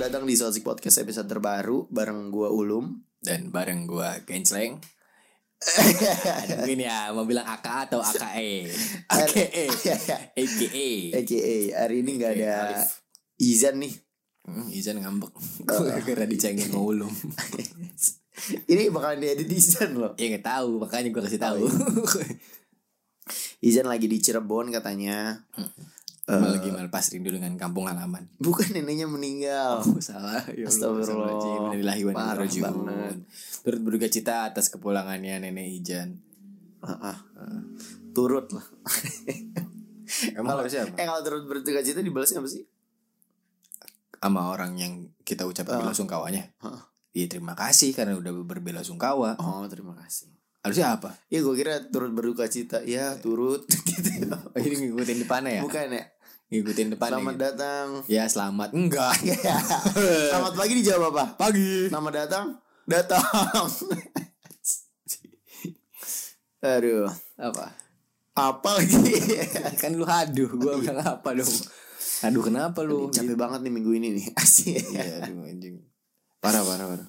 Eh, di Solsik Podcast episode terbaru bareng gua Ulum. dan bareng gua Gensleng. Aduh, Mungkin ya mau bilang AK atau E. AKE. AKE. AKE. ECE hari ini nggak ada Alif. Izan nih. Hmm, Izan ngambek. Gua kira dicengin mau ulum. Ini bakalan diedit Izan loh. ya nggak tahu, makanya gua kasih tahu. Izan lagi di Cirebon katanya. Malah lagi melepas rindu dengan kampung halaman. Bukan neneknya meninggal. Oh, salah. Astagfirullah. Ya Allah, astagfirullahaladzim. Innalillahi wa inna ilaihi Parah raji'un. banget. Turut berduka cita atas kepulangannya Nenek Ijan. Ah, ah. Turut lah. Emang harusnya apa? eh kalau turut bertugas itu dibalasnya apa sih? Sama orang yang kita ucapkan Ah. bela sungkawanya. Ah. Ya terima kasih karena udah berbela sungkawa. Oh terima kasih. Harusnya apa? Ya gue kira turut berduka cita. Ya turut. gitu. Oh, ini ngikutin depannya ya? Bukan ya. Ngikutin depannya. Selamat gitu. datang. Ya selamat. Enggak. Selamat pagi dijawab apa? Pagi. Nama datang? Datang. Aduh, Apa? apa lagi? kan lu haduh. Gua bilang apa dong? Aduh kenapa lu? Capek banget nih minggu ini nih. Asik. Iya, aduh anjing. Parah, parah, parah.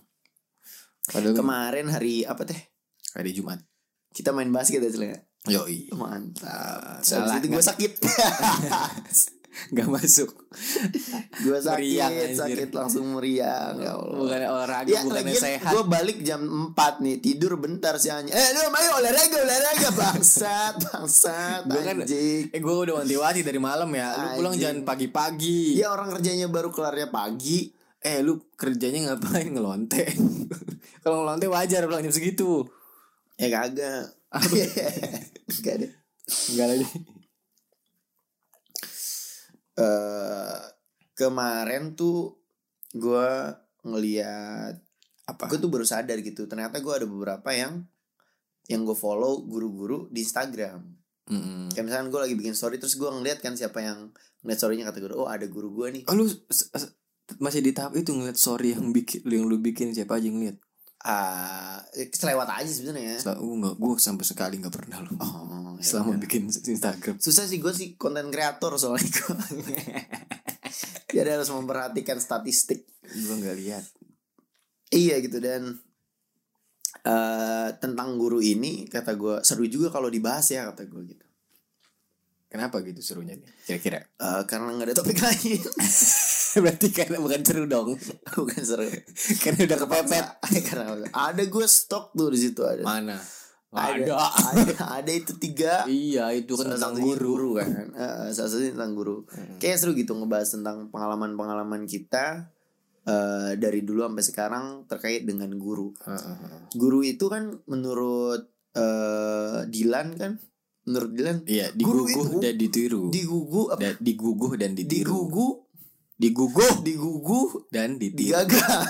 Padahal kan Kemarin hari apa teh? hari Jumat. Kita main basket ya, Cel, ya? Yoi. Mantap. Salah. Salah, itu gue sakit. Gak masuk. gue sakit, Meriang, anjir. sakit langsung meriang. Ya Allah. Bukan olahraga, Ya, bukan lagian sehat. Gue balik jam 4 nih Tidur bentar sih anjing Eh lu ayo olahraga olahraga Bangsat Bangsat Gua kan- anjing Eh gue udah wanti-wanti dari malam ya. Lu pulang Anjing. jangan pagi-pagi. Ya orang kerjanya baru kelarnya pagi Eh lu kerjanya ngapain ngelonte? Kalau ngelonte wajar pulang jam segitu. Ya kagak. Enggak deh. Enggak lagi. Eh, kemarin tuh gua ngeliat Apa? gue tuh baru sadar gitu ternyata gua ada beberapa yang yang gue follow guru-guru di Instagram Mm-mm. kayak misalkan gue lagi bikin story terus gua ngeliat kan siapa yang ngeliat storynya kata gue oh ada guru gua nih Oh, lu s- s- masih di tahap itu ngeliat sorry yang bikin yang lu bikin siapa aja ngeliat? ah selewat aja sebenarnya Sel- Gua nggak, gue sampai sekali nggak pernah lu. oh ya Selama udah. bikin Instagram. susah sih gue sih konten kreator soalnya gue jadi harus memperhatikan statistik gue nggak lihat. Iya gitu dan eh tentang guru ini kata gue seru juga kalau dibahas ya kata gue gitu. Kenapa gitu serunya nih? Kira-kira. Eh, karena nggak ada topik lain Berarti karena bukan seru dong. bukan seru karena udah kepepet. Iya, karena ada gue stok tuh di situ ada. Mana? Ada. ada ada itu tiga Iya, itu kan Salah tentang satunya guru. Hmm. kan Eh, salah satunya tentang guru kayak seru gitu ngebahas tentang pengalaman pengalaman kita eh dari dulu sampai sekarang terkait dengan guru guru itu kan menurut eh Dilan kan menurut Dilan Iya, Guru diguguh itu- dan ditiru. digugu apa Da- diguguh dan ditiru. digugu Diguguh digugu dan ditiru. digagah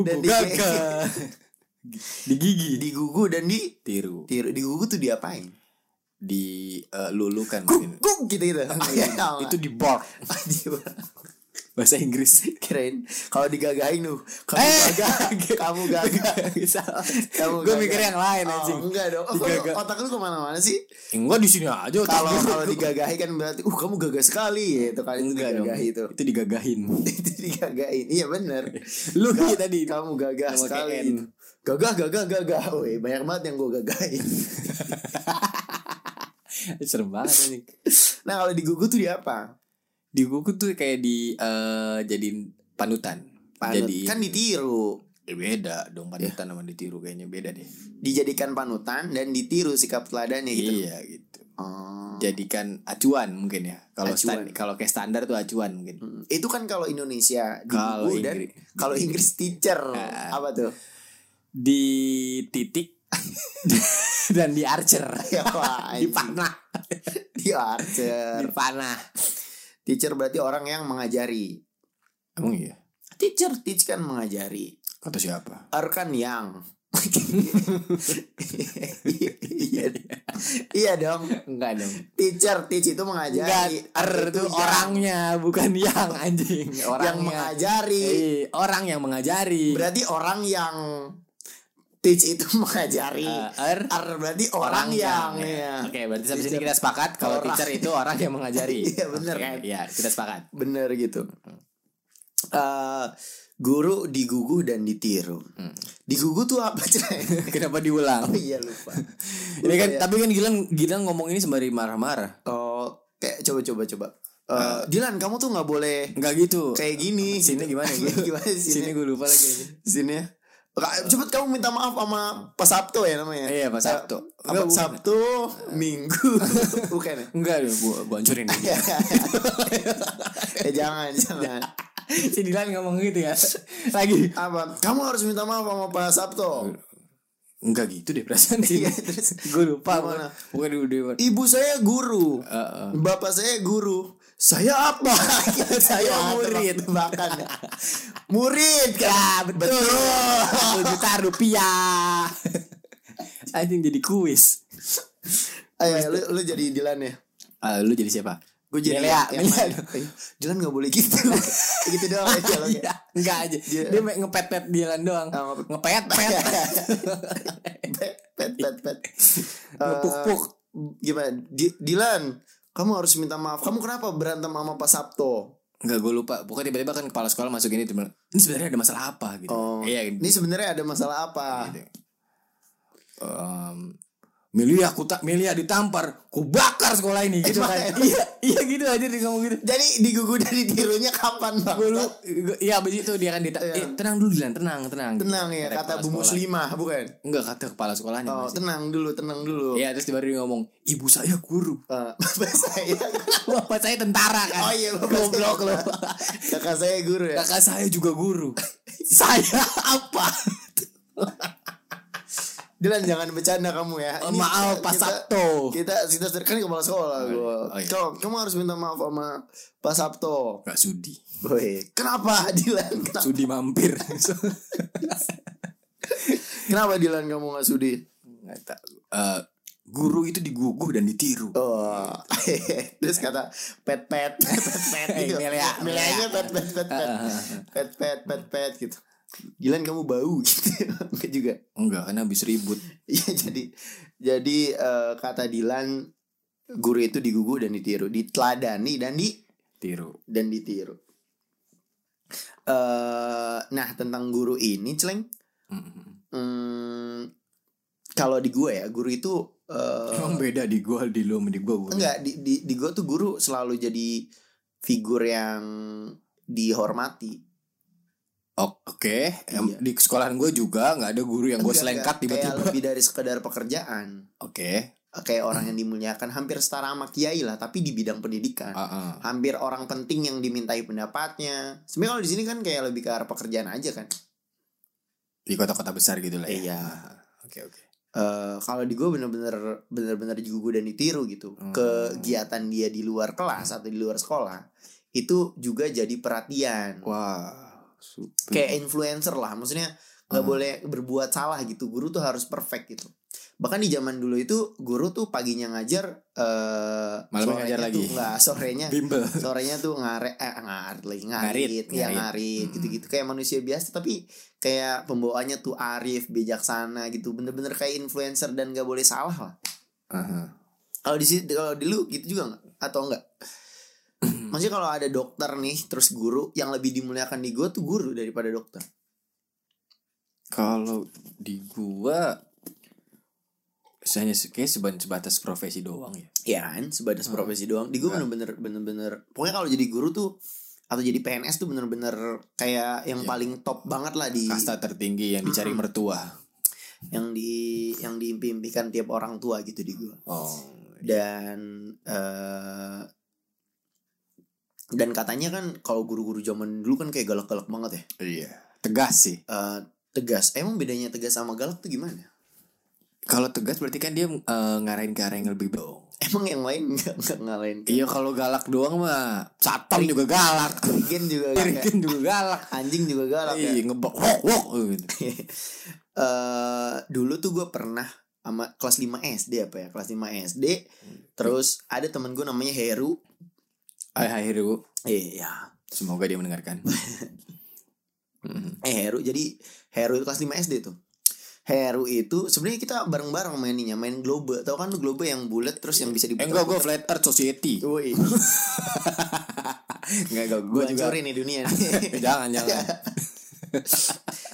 dan Gugu di- gagah. Digigi. digugu dan di Ditiru. tiru digugu tuh diapain Dilulukan mungkin. guk guk gitu Iya. gitu eh, Itu di bark bahasa Inggris. kirain kalau digagahin tuh kamu Eh! gagah kamu gagah Kamu Gue gagah. mikir yang lain Oh, anjing. enggak dong oh, Digagah. kok otak lu kemana-mana sih Enggak di sini aja otak kalau gua. kalau digagahi kan berarti uh kamu gagah sekali gitu kan itu enggak dong. digagahi itu Itu digagahin. itu digagahin iya bener Lu Ga- kayak tadi. kamu gagah Sama sekali KN. gitu. gagah gagah gagah Woi, banyak banget yang gue gagahin Serem banget anjing. nah kalau digugu tuh di apa Di Gugu tuh kayak di eh, jadiin panutan. Panut. Jadiin- kan ditiru Eh, beda dong panutan sama ditiru kayaknya beda deh. dijadikan panutan dan ditiru sikap teladannya gitu Iya gitu. Oh. Jadikan acuan mungkin ya. Kalau Acuan. stan- kalau kayak standar tuh acuan mungkin. Hmm. itu kan kalau Indonesia digugu Kalau dan Inggris- kalau Inggris teacher Ah. apa tuh Di titik dan di archer. ya wah, di anjing. panah. di archer Di panah. teacher berarti orang yang mengajari Emang iya. teacher teach kan mengajari Kata siapa? R kan yang iya, iya dong Enggak dong. teacher teach itu mengajari Enggak, er itu itu yang- orangnya bukan yang anjing. yang Orangnya. mengajari Eh, orang yang mengajari. berarti orang yang teach itu mengajari Eh, er iya. R berarti orang, yang, ya. Oke, berarti sampai sini Teacher. kita sepakat kalau Orang. teacher itu orang yang mengajari. Iya, bener Oke, kan? Iya, kita sepakat. bener gitu eh, guru diguguh dan ditiru. Hmm. Diguguh tuh apa cerai? Kenapa diulang? oh iya lupa. ya. Ini kan tapi kan Gilang Gilang ngomong ini sembari marah-marah. Oh, kayak coba coba coba. Eh, Dilan kamu tuh nggak boleh Enggak gitu. kayak gini. Ah. Sini gimana gue? gimana sini? Sini gue lupa lagi. sini ya. Ra- Cepet kamu minta maaf sama Pak Sabto ya namanya. Iya, Pak Sabto. Eh, Enggak, Apa bukan. Sabtu Minggu bukan ya? Enggak, gue gue hancurin ini. Eh, jangan jangan. si Dilan ngomong gitu ya. Lagi. Apa? Kamu harus minta maaf sama Pak Sabto. Enggak gitu deh perasaan sih. Iya, terus gue lupa Gimana? Bukan di di- Ibu saya guru. Heeh. Bapak saya guru. Saya apa? saya murid bahkan. ya. murid Ya, kan. Betul. Satu juta rupiah. Anjing jadi kuis. Ayo, lu, lu jadi Dilan ya. Ah, lu jadi siapa? Gue jadi Melia, yang Melia. main. Eh, Dilan gak boleh gitu. gitu doang ya dialognya. Iya, enggak aja. Dia- Dia main ngepet-pet Dilan doang. Ah, ngepet. Ngepet-pet. pet pet pet pet. Ngepuk-puk. Eh, gimana? Di- Dilan, kamu harus minta maaf. Kamu kenapa berantem sama Pak Sabto? Enggak gue lupa. Pokoknya tiba-tiba kan kepala sekolah masuk ini tiba ini sebenarnya ada masalah apa gitu. Oh, Iya. ini sebenarnya ada masalah apa? gitu. Em, Milia aku tak Milia ditampar, ku bakar sekolah ini gitu kan. iya, iya gitu aja dia ngomong gitu. Jadi digugu dari tirunya kapan bang? Gue lu, gua- iya abis itu dia kan dita- Iya. eh, tenang dulu Dilan, tenang, tenang. iya, Tenang ya, Kata kata Bu kepala sekolah. Muslimah bukan? Enggak kata kepala sekolahnya. Oh, masih. tenang dulu, tenang dulu. Iya, terus tiba-tiba dia ngomong, "Ibu saya guru." Eh, bapak saya, Bapak saya tentara kan. oh iya bapak goblok saya. lu. Kakak saya guru ya. Kakak saya juga guru. saya apa? Dilan jangan bercanda kamu ya. Oh, Ini kita- maaf, Pak kita- Sabto. Kita kita kan kepala sekolah gua. oh iya. Kau- kamu harus minta maaf sama Pak Sabto. Gak sudi. Boy, kenapa Dilan? Kenapa, Sudi mampir. kenapa Dilan kamu nggak sudi? Nggak tahu. Eh, guru itu diguguh dan ditiru. Oh, terus kata pet pet pet pet, pet gitu. Eh, Ah, Melia, Melianya pet pet pet pet pet pet pet pet gitu. Dilan kamu bau gitu Enggak juga. Enggak, karena habis ribut. Iya jadi jadi eh, kata Dilan guru itu diguguh dan ditiru, diteladani dan di Tiru. dan ditiru. eh nah tentang guru ini celeng, Mm-mm. hmm, kalau di gue ya guru itu eh Emang beda di gua di lu sama di gua guru. enggak di di, di gue tuh guru selalu jadi figur yang dihormati. Oh, Oke, Em, Iya. di sekolahan gua juga nggak ada guru yang gua Enggak, selengkat enggak, kayak tiba-tiba. lebih dari sekedar pekerjaan. Oke. Kayak orang yang dimuliakan hampir setara sama kiai lah, tapi di bidang pendidikan. Ah, ah. Hampir orang penting yang dimintai pendapatnya. Sebenarnya kalau di sini kan kayak lebih ke arah pekerjaan aja kan. Di kota-kota besar gitu lah ya. Iya. Ah, Oke, oke. eh kalau di gue bener-bener bener-bener digugu dan ditiru gitu Hmm. kegiatan dia di luar kelas atau di luar sekolah itu juga jadi perhatian Wah, super. kayak influencer lah maksudnya nggak Hmm. boleh berbuat salah gitu guru tuh harus perfect gitu bahkan di zaman dulu itu guru tuh paginya ngajar eh Malamnya ngajar sorenya tuh lagi. nggak sorenya bimbel. sorenya tuh ngaret eh ngaret lagi ngarit, Ngarit, ya ngarit. Hmm. ngarit Mm-mm. gitu-gitu kayak manusia biasa tapi kayak pembawaannya tuh arif bijaksana gitu bener-bener kayak influencer dan gak boleh salah lah Aha. kalau di sini kalau di lu gitu juga nggak atau enggak maksudnya kalau ada dokter nih terus guru yang lebih dimuliakan di gua tuh guru daripada dokter Kalau di gua saya hanya se- kayak seba- sebatas profesi doang ya. ya kan sebatas Hmm. profesi doang di gua bener-bener Nggak. bener-bener pokoknya kalau jadi guru tuh atau jadi PNS tuh bener-bener kayak yang Iya. paling top banget lah di Kasta tertinggi yang dicari mertua. yang di yang diimpi-impikan tiap orang tua gitu di gua Oh. dan eh dan katanya kan kalau guru-guru zaman dulu kan kayak galak-galak banget ya Iya. Tegas sih. Eh tegas emang bedanya tegas sama galak tuh gimana Kalau tegas berarti kan dia eh, ngarahin ke arah yang lebih dong. emang yang lain nggak nggak ngalahin Iya kalau galak doang mah satpam juga galak. Regen juga galak ya. Mungkin juga galak. anjing juga galak ya Iya ngebok wok wok gitu. Eh, dulu tuh gue pernah sama kelas 5 SD apa ya kelas 5 SD Hmm. terus ada temen gue namanya Heru Hai hai Heru. iya Semoga dia mendengarkan. Mhm. eh Heru jadi Heru itu kelas 5 SD tuh Heru itu sebenarnya kita bareng-bareng mainnya main globe tau kan lu globe yang bulat terus yang bisa eh diputar enggak gue flat earth society. Woi. Enggak, enggak. Gue Gue juga. hancurin nih dunia nih. Eh, jangan, jangan.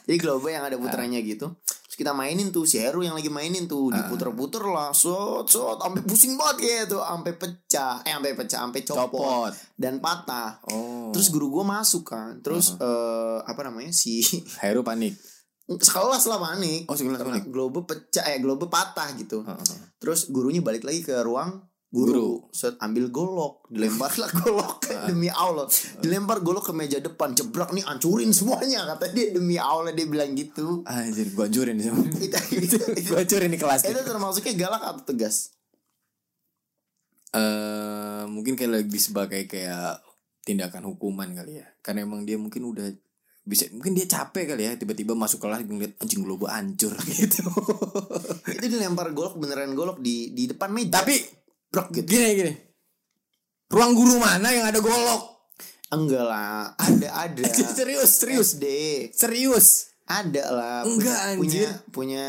Jadi globe yang ada puterannya gitu Terus kita mainin tuh si Heru yang lagi mainin tuh Diputer-puter lah Sot sot Sampai pusing banget gitu Sampai pecah Eh sampai pecah Sampai copot, Copot. Dan patah Oh. Terus guru gue masuk kan Terus eh, Apa namanya Si Heru panik. Sekolah lah panik Oh, sekolah Karena panik. Globe pecah Eh globe patah gitu Heeh, heeh. Terus gurunya balik lagi ke ruang guru, Set, ambil golok, dilemparlah golok demi Allah. Dilempar golok ke meja depan, jebrak nih ancurin semuanya kata dia demi Allah dia bilang gitu. Anjir, gue hancurin nih semua. Itu itu, itu, Gue hancurin nih kelas. gitu. nih. itu termasuknya galak atau tegas? eh mungkin kayak lebih sebagai kayak tindakan hukuman kali ya karena emang dia mungkin udah bisa mungkin dia capek kali ya tiba-tiba masuk kelas ngeliat anjing globo hancur gitu Itu dilempar golok beneran golok di di depan meja. tapi brok gitu. gini gini ruang guru mana yang ada golok Enggak lah, ada ada. Ya. serius serius SD serius ada lah. Enggak, punya, anjir. punya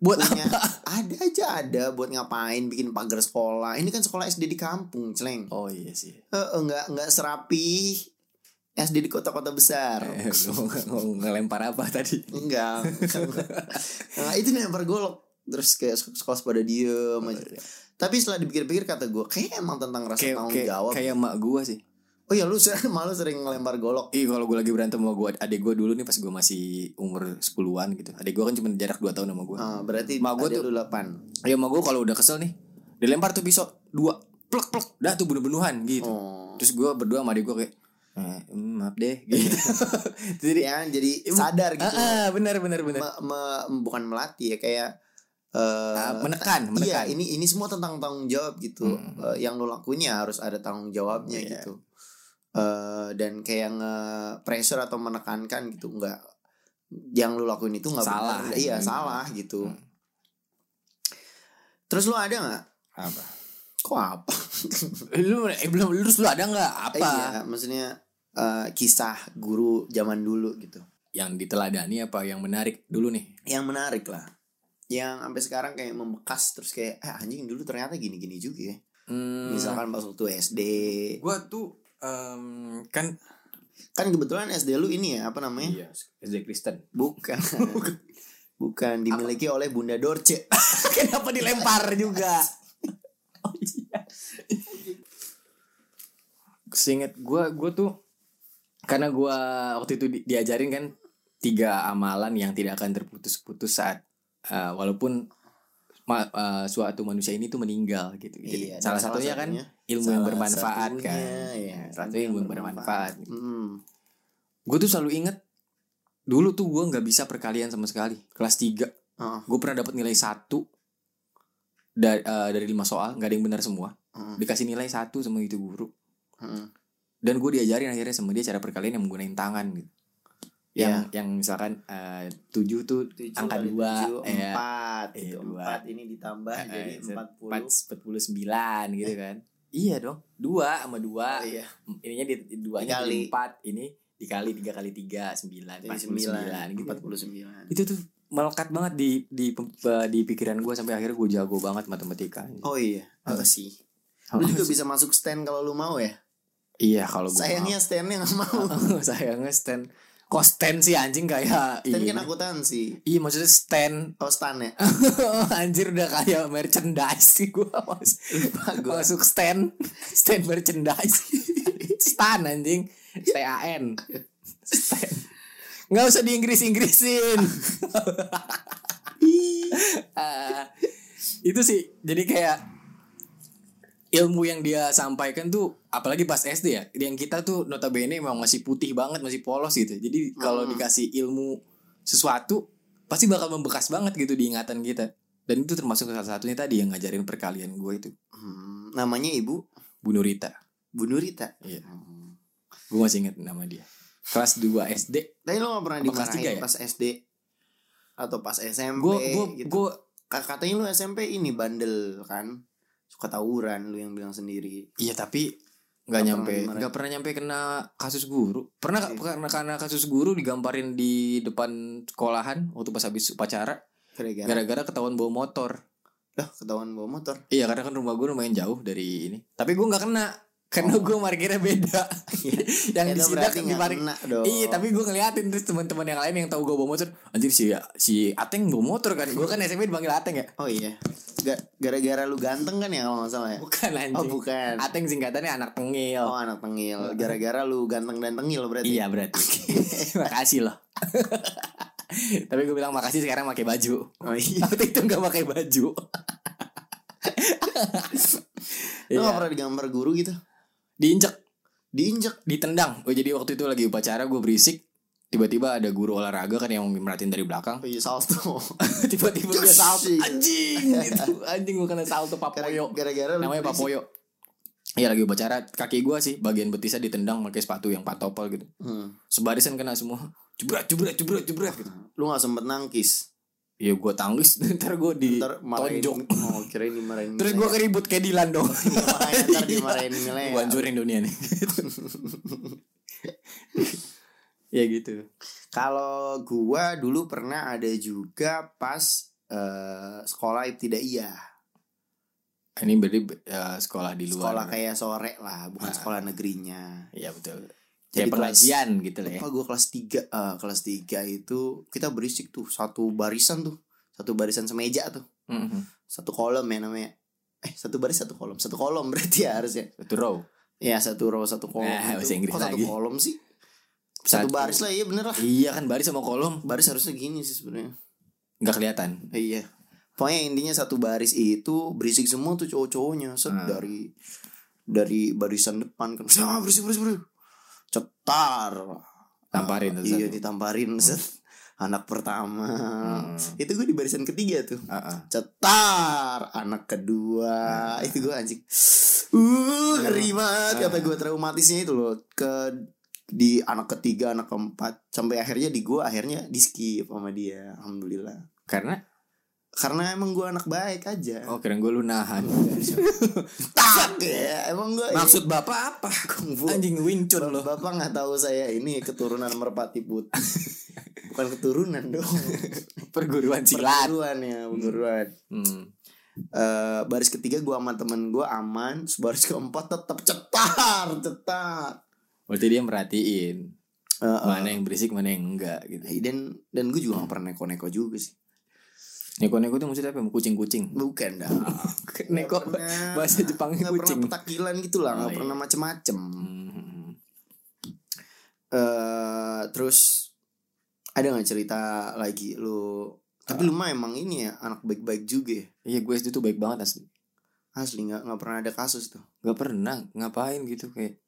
buat punya apa ada aja ada buat ngapain bikin pagar sekolah. Ini kan sekolah SD di kampung, celeng. oh iya sih Eh, enggak enggak serapi SD di kota-kota besar. Eh, lu ng- ngelempar apa tadi Enggak. nah, itu lempar golok terus kayak sek- sekolah pada diem Oh, aja. Tapi setelah dipikir-pikir kata gue kayak emang tentang rasa iya. kayak tanggung kayak, jawab. kayak mak gua sih Oh ya lu sering malu sering ngelempar golok. Ih kalau gue lagi berantem sama gue Adek gue dulu nih pas gue masih umur 10-an gitu Adek gue kan cuma jarak 2 tahun sama gue Ah, berarti Mak gua ada lu tuh- 8. Ya sama gue kalau udah kesel nih Dilempar tuh pisau Dua Plek plek Dah tuh bunuh-bunuhan gitu Oh. Terus gue berdua sama adik gue kayak eh, mm, Maaf deh gitu Jadi Ya, jadi sadar ah, Iya, gitu. ah, Bener bener bener Me- me- bukan melatih ya kayak eh, Ah, Menekan Iya menekan ini ini semua tentang tanggung jawab gitu Eh, yang lo lakuin ya harus ada tanggung jawabnya Hmm. Iya. gitu Eh, dan kayak nge pressure atau menekankan gitu nggak yang lo lakuin itu nggak Salah. benar. iya Hmm. salah gitu terus lo ada nggak Apa kok apa Lu eh, belum lu- Terus lu ada gak Eh, apa iya, maksudnya eh, kisah guru zaman dulu gitu Yang diteladani apa Yang menarik dulu nih yang menarik lah yang sampai sekarang kayak membekas terus kayak ah, anjing dulu ternyata gini-gini juga ya hmm, misalkan pas waktu SD Gue tuh em, Kan kan kebetulan SD lu ini ya apa namanya Iya SD Kristen Bukan. Bukan dimiliki oleh Bunda Dorce. Kenapa dilempar juga? Oh, iya. Seinget gue, gue tuh karena gue waktu itu di- diajarin kan tiga amalan yang tidak akan terputus-putus saat eh, walaupun ma- eh, suatu manusia ini tuh meninggal gitu. Jadi Iya, dan salah, salah satunya, satunya- kan ilmu yang salah bermanfaat satunya, kan. iya, salah satunya ilmu yang bermanfaat. Hmm. Gue tuh selalu inget dulu tuh gue nggak bisa perkalian sama sekali. Kelas 3 Heeh, gue pernah dapat nilai satu dari eh, dari lima soal nggak ada yang benar semua heeh, dikasih nilai satu sama itu guru heeh. dan gue diajarin akhirnya sama dia cara perkalian yang menggunakan tangan gitu yang Iya. yang misalkan eh, tujuh tuh Tujuh angka kali dua tujuh, eh, empat Iya, itu dua. empat ini ditambah Eh, jadi eh, empat set- empat puluh empat puluh sembilan gitu kan iya dong dua sama dua iya ininya di duanya Dikali. jadi empat ini dikali tiga kali tiga sembilan jadi empat puluh sembilan sembilan gitu empat puluh sembilan itu tuh melekat banget di di di pikiran gue sampai akhirnya gue jago banget matematika oh iya apa sih lu juga bisa masuk stand kalau lu mau ya Iya kalau gue sayangnya standnya nggak mau Sayangnya stand Kok stand sih anjing kayak stand ini? kan akuntansi Iya maksudnya stand oh stand ya Anjir udah kayak merchandise sih gue mas Masuk stand Stand merchandise Stan anjing T-A-N Stand Nggak usah diinggris-inggrisin Ah, Itu sih Jadi kayak ilmu yang dia sampaikan tuh apalagi pas SD ya yang kita tuh notabene memang masih putih banget masih polos gitu jadi kalau dikasih ilmu sesuatu pasti bakal membekas banget gitu di ingatan kita dan itu termasuk salah satunya tadi yang ngajarin perkalian gue itu Hmm, namanya ibu Bu Nurita Bu Nurita Iya. Hmm. gue masih ingat nama dia kelas 2 SD Tapi lo gak pernah Apa kelas tiga dimarahin ya? pas SD atau pas SMP gue gue gitu. gue Ka- Katanya lu SMP ini bandel kan. Suka tawuran lu yang bilang sendiri. iya tapi nggak Nggak nyampe pernah dimarahin. nggak pernah nyampe kena kasus guru pernah Iya. karena karena kasus guru digamparin di depan sekolahan waktu pas habis upacara Gara-gara gara-gara ketahuan bawa motor Lah, ketahuan bawa motor. Iya karena kan rumah gue lumayan jauh dari ini. Tapi gue nggak kena Karena gue markirnya beda Yang Oh. Iya. Ya, Itu disidak berarti di nggak parkir kena dong. Iya tapi gue ngeliatin Terus teman-teman yang lain yang tahu gue bawa motor Anjir si, si Ateng bawa motor kan Gue kan SMP dipanggil Ateng ya Oh iya. Ga- Gara-gara lu ganteng kan ya kalau nggak salah ya. Bukan anjing Oh bukan. Ateng singkatannya anak tengil Oh anak tengil. Gara-gara lu ganteng dan tengil berarti. Iya berarti Makasih loh Tapi gue bilang makasih sekarang pakai baju Oh iya. Waktu itu gak pakai baju Lu nggak Iya. pernah digambar guru gitu? Diinjek Diinjek. Ditendang Oh, Jadi waktu itu lagi upacara gue berisik Tiba-tiba ada guru olahraga kan yang merhatiin dari belakang Oh iya salto. Tiba-tiba dia Yes, salto iya. Anjing gitu Anjing gue kena salto Gara- papoyo Gara-gara lu. Namanya Pak berisik. Poyo. Iya lagi upacara kaki gua sih bagian betisnya ditendang pakai sepatu yang patopel gitu. Hmm. Sebarisan kena semua. Jebret jebret jebret jebret gitu. Lu nggak sempet nangkis. Ya gua tangis ntar gua di Ntar marahin. tonjok. Oh kirain dimarahin. Terus gua keribut kayak Dilan dong. Nah, Makanya ntar dimarahin milenial. Gua hancurin dunia nih. ya gitu. Kalau gua dulu pernah ada juga pas eh, sekolah ibtidaiyah. Ini berarti eh, sekolah di luar. Sekolah kayak sore lah, bukan Ah. sekolah negerinya. Iya betul. Jadi Kayak kelas- pengajian gitu lah ya. Apa gua kelas 3 kelas 3 itu kita berisik tuh satu barisan tuh. Satu barisan semeja tuh. Mhm. Satu kolom ya namanya. Eh, satu baris satu kolom. Satu kolom berarti ya harusnya. Satu row. Ya, satu row satu kolom. Nah, itu. bahasa Inggris Kok satu lagi. kolom sih? Satu, baris lah, iya bener lah. Iya kan baris sama kolom. Baris harusnya gini sih sebenarnya. Nggak kelihatan. Iya. Pokoknya intinya satu baris itu berisik semua tuh cowok-cowoknya set Hmm. dari dari barisan depan kan. Sama berisik berisik berisik. Cetar. Tamparin tuh Iya satu. ditamparin set. Anak pertama. Hmm. Itu gue di barisan ketiga tuh. Ah, ah. Cetar anak kedua. Hmm. Itu gue anjing. Uh, ngeri banget kata Hmm. gue traumatisnya itu loh ke di anak ketiga, anak keempat sampai akhirnya di gue akhirnya di skip sama dia. Alhamdulillah Karena karena emang gue anak baik aja Oh keren gue lu nahan tak ya emang gue Maksud bapak apa? kungfu Anjing Wing Chun lo bapak nggak tahu saya ini keturunan merpati putih bukan keturunan dong Perguruan silat perguruan ya perguruan hmm. Eh, baris ketiga gue sama temen gue aman baris keempat tetap cetar cetar Berarti dia merhatiin Eh, eh. Nah, Mana yang berisik mana yang enggak gitu dan dan gue juga gak pernah neko-neko juga sih Neko-neko tuh maksudnya apa? ya? Kucing-kucing bukan dah Neko Nggak pernah. bahasa Jepangnya nggak pernah kucing petakilan gitu lah nggak Oh, iya. pernah macem-macem Hmm. eh terus ada nggak cerita lagi lu tapi lu mah emang ini ya anak baik-baik juga ya Iya gue SD tuh baik banget asli asli nggak nggak pernah ada kasus tuh Gak pernah ngapain gitu kayak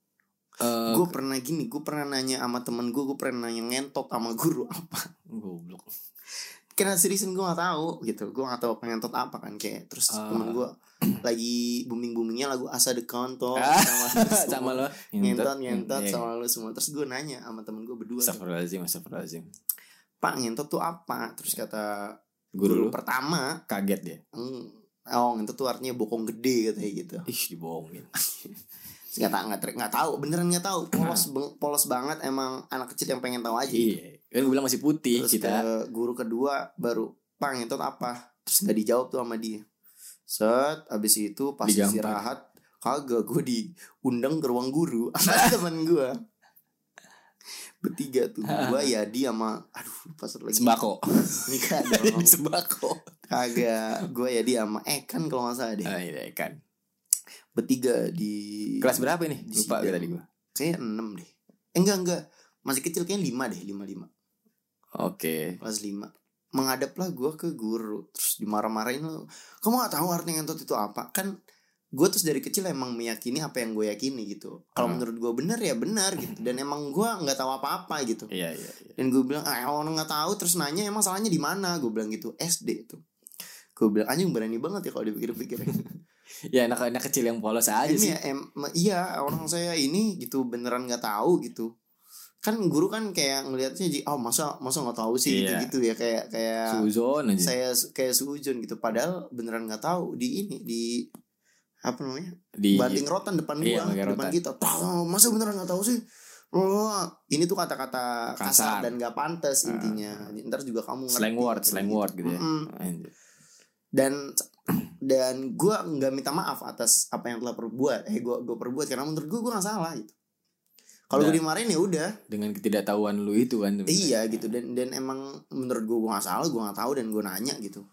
Eh, gue pernah gini gue pernah nanya sama temen gue gue pernah nanya ngentot sama guru apa Goblok karena seriusan gue nggak tahu gitu gue nggak tahu apa ngentot apa kan kayak terus Ah. temen gue lagi booming boomingnya lagu asa de kontol Ah, sama Sama lo ngentot ngentot Iya. sama lu semua terus gue nanya sama temen gue berdua Astagfirullahaladzim Astagfirullahaladzim pak ngentot tuh apa terus kata Guru lu guru pertama kaget dia Hmm. Oh, itu tuh artinya bokong gede katanya gitu. Ih dibohongin Terus Nggak tahu nggak ter- nggak tahu, beneran nggak tahu. Polos beng- polos banget emang anak kecil yang pengen tahu aja. Hmm. Iya Kan gue bilang masih putih Terus kita ke guru kedua baru pang itu apa? Terus nggak dijawab tuh sama dia. Set, abis itu pas Digampar. istirahat kagak gue diundang ke ruang guru sama teman gue bertiga tuh gue ya dia sama aduh pas lagi Sembako nikah dong Sembako kagak gue ya dia sama eh kan kalau nggak salah deh Ah, iya kan. bertiga di Kelas berapa ini? Di Lupa gue sidang. tadi gue. Kayaknya 6 deh eh, Enggak enggak Masih kecil kayaknya 5 deh 5 Oke. 5 Kelas 5 Menghadaplah gue ke guru Terus dimarah-marahin lu Kamu gak tahu artinya ngentot itu apa Kan gue terus dari kecil emang meyakini apa yang gue yakini gitu Kalau Hmm. menurut gue bener ya benar gitu Dan emang gue gak tahu apa-apa gitu Iya iya iya. dan gue bilang ah orang nggak tahu terus nanya emang salahnya di mana gue bilang gitu SD tuh gue bilang anjing berani banget ya kalau dipikir-pikir Ya anak-anak kecil yang polos aja ini sih. ya em, me- iya orang saya ini gitu beneran nggak tahu gitu kan guru kan kayak ngelihatnya jadi oh masa masa nggak tahu sih gitu Iya. gitu ya kayak kayak Suzon aja. saya su- kayak suujun gitu padahal beneran nggak tahu di ini di apa namanya Di banting rotan depan Iya, gua pakai depan rotan. kita tahu masa beneran nggak tahu sih Oh, ini tuh kata-kata kasar. Kasar. Ah. dan gak pantas intinya. Ntar juga kamu ngerti. slang word, slang word gitu ya. Mm-mm. Anjir. Dan dan gue nggak minta maaf atas apa yang telah perbuat eh gue gue perbuat karena menurut gue gue nggak salah gitu kalau gue Dan- dimarahin ya udah dengan ketidaktahuan lu itu kan sebenarnya. iya gitu dan dan emang menurut gue gue nggak salah gue nggak tahu dan gue nanya gitu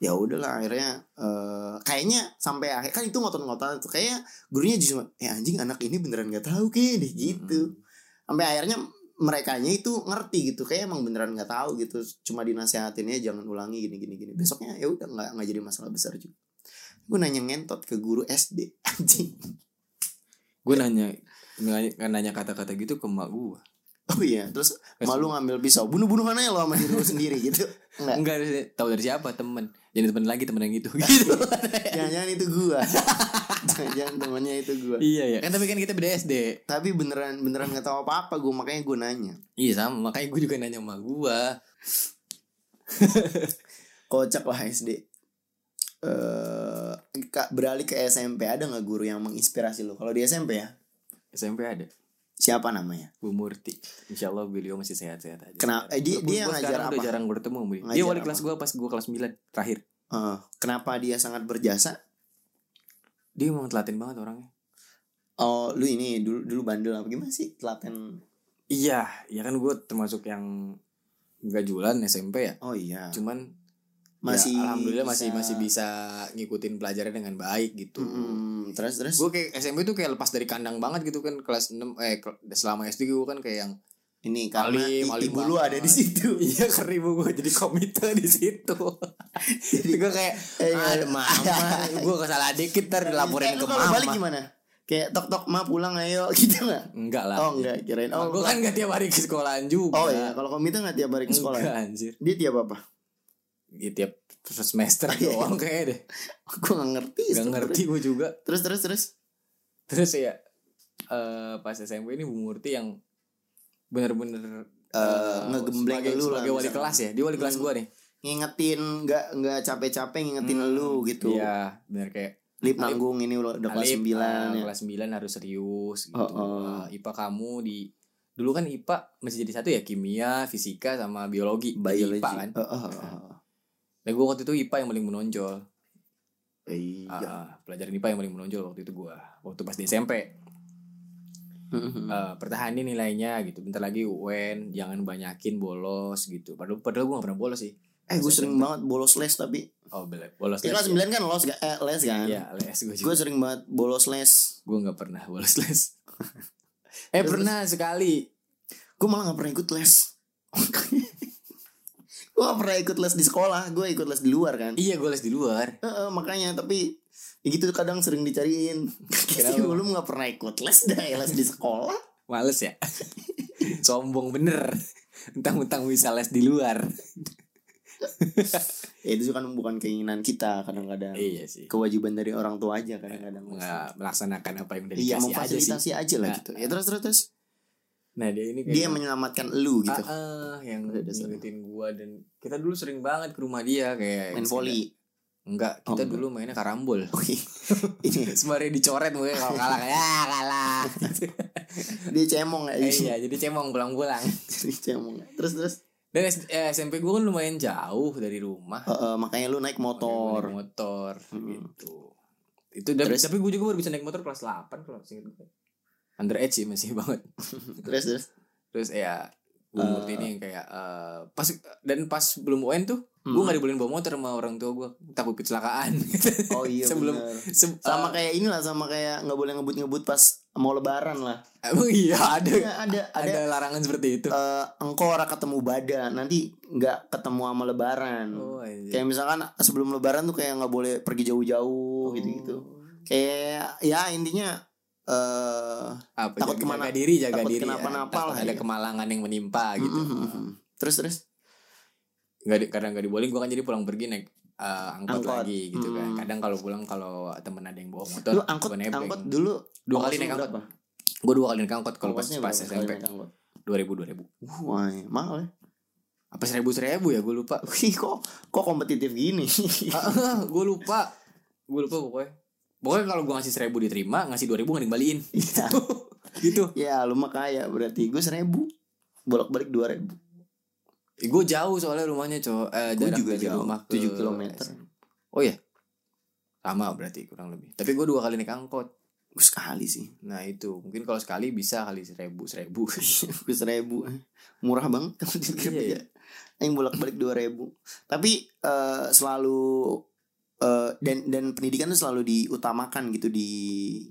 ya udahlah akhirnya eh, kayaknya sampai akhir kan itu ngotot-ngotot tuh kayak gurunya justru eh anjing anak ini beneran nggak tahu kayak deh gitu sampai akhirnya merekanya itu ngerti gitu kayak emang beneran nggak tahu gitu cuma dinasehatinnya jangan ulangi gini gini gini besoknya ya udah nggak nggak jadi masalah besar juga gue nanya ngentot ke guru SD anjing gue nanya nanya- nanya kata-kata gitu ke mak gue oh iya terus malu ngambil pisau bunuh bunuhan aja lo sama diri lo sendiri gitu enggak enggak tahu dari siapa temen jadi temen lagi temen yang itu gitu jangan jangan itu gua jangan jangan temannya itu gua iya ya kan tapi kan kita beda SD tapi beneran beneran nggak tahu apa apa gue makanya gue nanya iya sama makanya gue juga nanya sama gue kocak lah SD eh Kak, beralih ke SMP ada nggak guru yang menginspirasi lo kalau di SMP ya SMP ada siapa namanya Bu Murti Insya Allah beliau masih sehat-sehat aja Kenapa- eh, dia- Walaupun dia gua ngajar sekarang udah apa? jarang bertemu Bu. Dia Ngajar wali apa? kelas gue pas gue kelas 9 Terakhir Eh, kenapa dia sangat berjasa Dia emang telaten banget orangnya oh lu ini dulu dulu bandel apa gimana sih telaten Iya Ya kan gue termasuk yang Gajulan SMP ya oh iya Cuman masih ya, Alhamdulillah masih bisa- masih bisa ngikutin pelajaran dengan baik gitu Mm-mm. terus terus Gue kayak SMP tuh kayak lepas dari kandang banget gitu kan Kelas 6 Eh kel- selama SD gue kan kayak yang ini karena i- Alim, alim ibu lu ada banget. di situ Iya keribu gue jadi komite di situ. jadi gue kayak Eh, ada mama, gue kesalahan dikit ntar Eh, dilaporin lu ke kalau mama. balik gimana kayak tok tok ma pulang ayo gitu nggak Enggak lah. Oh enggak kirain Oh, gue kan gak tiap hari ke sekolahan juga. oh iya kalau komite nggak tiap hari ke sekolah Enggak anjir. Dia tiap apa? Ya, tiap semester iya. doang kayaknya deh. Gue gak ngerti Gak sebenernya. ngerti gue juga. Terus terus terus Terus ya eh pas SMP ini Bu Murti yang bener-bener Eh, eh, Ngegembleng lu sebagai, lah sebagai wali misalnya. kelas ya. Dia wali kelas Hmm. gue nih. Ngingetin Gak, nggak capek-capek ngingetin Hmm, lu gitu Iya, bener kayak Lip Alip. nanggung ini udah udah kelas Alif, 9 ah, ya. kelas 9 harus serius gitu. Oh, oh. Ah, IPA kamu di dulu kan IPA masih jadi satu ya kimia, fisika sama biologi. Jadi Biologi IPA kan. Oh, oh, oh, oh. Nah, gue waktu itu IPA yang paling menonjol. Ah, Iya ah, pelajaran IPA yang paling menonjol waktu itu gua. Waktu pas di SMP. Hmm. Eh, pertahanin nilainya gitu. Bentar lagi UN, jangan banyakin bolos gitu. Padahal padahal gue gak pernah bolos sih. Eh gue sering banget bolos les tapi Oh, bela- Iya. bolos. Di kelas 9 kan los, ga- eh, les kan Iya, les gue juga. Gue sering banget bolos les Gue gak pernah bolos les. eh, pernah sekali. Gue malah gak pernah ikut les Gue gak pernah ikut les di sekolah Gue ikut les di luar kan Iya, gue les di luar. Heeh, makanya tapi ya gitu kadang sering dicariin. Kenapa? Kenapa? Lu nggak pernah ikut les dah ya, les di sekolah. Males ya Sombong bener Entang-entang bisa les di luar Ya itu kan bukan keinginan kita kadang-kadang. Iya sih Kewajiban dari orang tua aja kadang-kadang. Nggak melaksanakan apa yang udah Iya dikasih aja sih memfasilitasi aja, lah Nah, gitu. Ya terus terus, terus. Nah dia ini kayak dia menyelamatkan lu gitu. Ah, ah, Yang Udah, udah, ngikutin gua Dan kita dulu sering banget ke rumah dia Kayak Main volley. Enggak Oh, Kita enggak. dulu mainnya karambol Oke. Ini Sebenarnya dicoret mungkin kalau kalah Ya kalah dia cemong kayak Eh, gitu. Iya jadi cemong pulang-pulang Dia cemong. Terus terus. Dan S- eh, SMP gua kan lumayan jauh dari rumah Heeh, makanya lu naik Makanya gua motor. naik Motor Hmm. gitu. Itu tapi, Terus? tapi gue juga baru bisa naik motor kelas 8 kalau singkat gue. Underage sih masih banget. Terus terus. Terus ya gue ngerti ini yang kayak eh, pas dan pas belum UN tuh gue Hmm. gak dibolehin bawa motor sama orang tua gue takut kecelakaan Oh iya Sebelum- bener. Se- Sama eh, kayak inilah sama kayak nggak boleh ngebut-ngebut pas mau lebaran lah. emang iya ada, Iya, ada ada ada larangan seperti itu eh engkau ora ketemu badan nanti nggak ketemu sama lebaran oh, anjir. kayak misalkan sebelum lebaran tuh kayak nggak boleh pergi Oh. jauh-jauh gitu gitu kayak ya intinya eh apa, takut jaga, kemana- jaga diri jaga takut diri kenapa-napa Takut lah, ada iya. kemalangan yang menimpa gitu mm, mm, mm. terus terus nggak di, kadang nggak dibolehin gue kan jadi pulang pergi naik eh, angkot, Angkot. lagi gitu kan Hmm. kadang kalau pulang kalau temen ada yang bawa motor lu angkot gua nebeng. angkot dulu dua ongkos kali lu naik angkot berapa? gue dua kali naik angkot kalau pas Ongkosnya pas berapa kali SMP naik angkot? dua ribu dua ribu wah mahal ya apa seribu seribu ya gue lupa Wih, kok kok kompetitif gini gue lupa gue lupa pokoknya pokoknya kalau gue ngasih seribu diterima ngasih dua ribu nggak dikembaliin Iya. gitu ya lu mah kaya berarti gue seribu bolak-balik dua ribu gue jauh soalnya rumahnya cowok eh, gue jarak juga dari jauh rumah ke tujuh kilometer oh ya Sama berarti kurang lebih. Tapi gue dua kali naik angkot. Gue sekali sih. Nah itu mungkin kalau sekali bisa kali seribu seribu. Gitu. Gue seribu. Murah banget kalau dipikir Iya, iya. pikir Yang bolak-balik dua ribu. Tapi eh, selalu eh, dan dan pendidikan tuh selalu diutamakan gitu di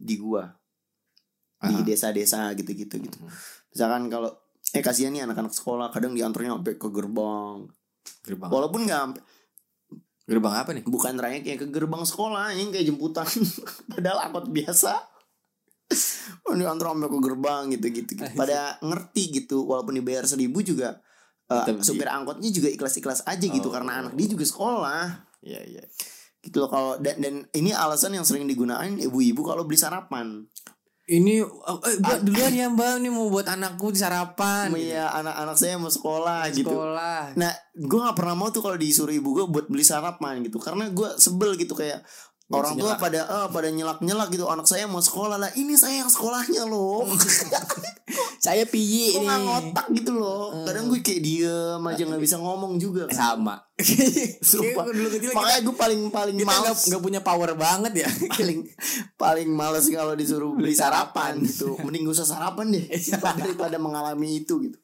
di gua Aha. di desa-desa gitu-gitu gitu. Misalkan kalau eh kasihan nih anak-anak sekolah kadang diantarnya sampai ke gerbang. Gerbang. Walaupun nggak sampai- Gerbang apa nih? bukan trayek ya ke gerbang sekolah yang kayak jemputan padahal angkot biasa ini antar sampai ke gerbang gitu gitu, Iya. gitu. pada ngerti gitu walaupun dibayar seribu juga eh, Tetep di- supir angkotnya juga ikhlas-ikhlas aja gitu Oh. karena anak dia juga sekolah Iya iya. gitu loh kalau dan, dan ini alasan yang sering digunakan ibu-ibu kalau beli sarapan Ini eh, buat duluan ya mbak, ini mau buat anakku sarapan. gitu. Iya anak-anak saya mau sekolah gitu Sekolah. Nah, gue nggak pernah mau tuh kalau disuruh ibu gue buat beli sarapan gitu, karena gue sebel gitu kayak Iya, orang tua senyelak. pada eh, pada nyelak nyelak gitu. Anak saya mau sekolah lah, ini saya yang sekolahnya loh. Saya piye Kok ini. nggak ngotak gitu loh. Hmm. Kadang gue kayak diem aja nggak bisa ngomong juga. Kan. Sama. Sumpah. Kayak Iya, dulu kecil kita Makanya gue paling paling kita nggak males nggak punya power banget ya. paling paling males kalau disuruh beli Beli sarapan. sarapan Iya. gitu. Mending gak usah sarapan deh daripada mengalami itu gitu.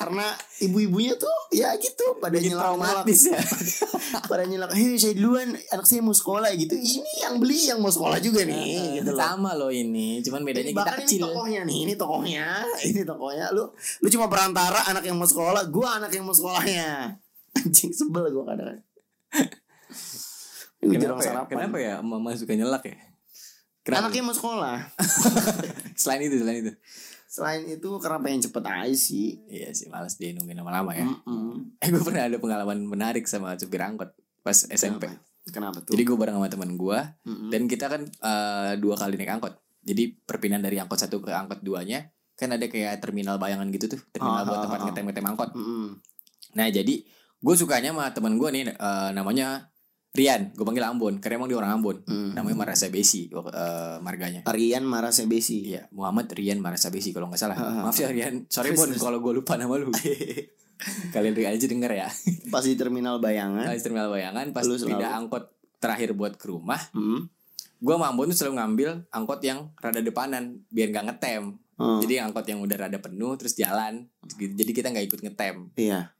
Karena ibu-ibunya tuh ya gitu pada Bikin nyelak-nyelak traumatis ya. Para nyelak, hei saya duluan, anak saya mau sekolah gitu. Ini yang beli yang mau sekolah juga nih, gitu loh. Nah, Sama loh ini, cuman bedanya Ini kita bahkan kecil. ini tokohnya nih, ini tokohnya, ini tokohnya. Lu, lu cuma perantara anak yang mau sekolah, gua anak yang mau sekolahnya. Anjing sebel gua kadang. Ini jarang Kenapa ya? sarapan. Kenapa ya mama suka nyelak ya? Kenapa? Anak yang mau sekolah. Selain itu, selain itu. Selain itu karena pengen cepet aja sih. Iya sih, males dia nungguin lama-lama Hmm. ya. Mm-mm. Eh, gue pernah ada pengalaman menarik sama supir angkot pas Kenapa? SMP. Hmm. Kenapa tuh? Jadi gue bareng sama teman gua Mm-mm. dan kita kan eh, dua kali naik angkot. Jadi perpindahan dari angkot satu ke angkot duanya kan ada kayak terminal bayangan gitu tuh, terminal Ah, buat ah, tempat ah. ngetem-ngetem angkot. Mm-mm. Nah jadi gue sukanya sama teman gue nih eh, namanya Rian, gue panggil Ambon karena emang dia orang Ambon. Mm. Namanya Marasabesi eh, marganya. Rian marah sebesi. Iya Muhammad Rian Marasabesi kalau nggak salah. Ah, ah, Maaf ya Rian, sorry Terus, Bon terus. kalau gue lupa nama lu. Kalian aja denger ya. Pas di terminal bayangan. Pas terminal bayangan pas Lu selalu. pindah angkot terakhir buat ke rumah, Mm. gue sama Ambon tuh selalu ngambil angkot yang rada depanan biar nggak ngetem. Mm. Jadi angkot yang udah rada penuh terus jalan. Gitu. Jadi kita nggak ikut ngetem. Iya.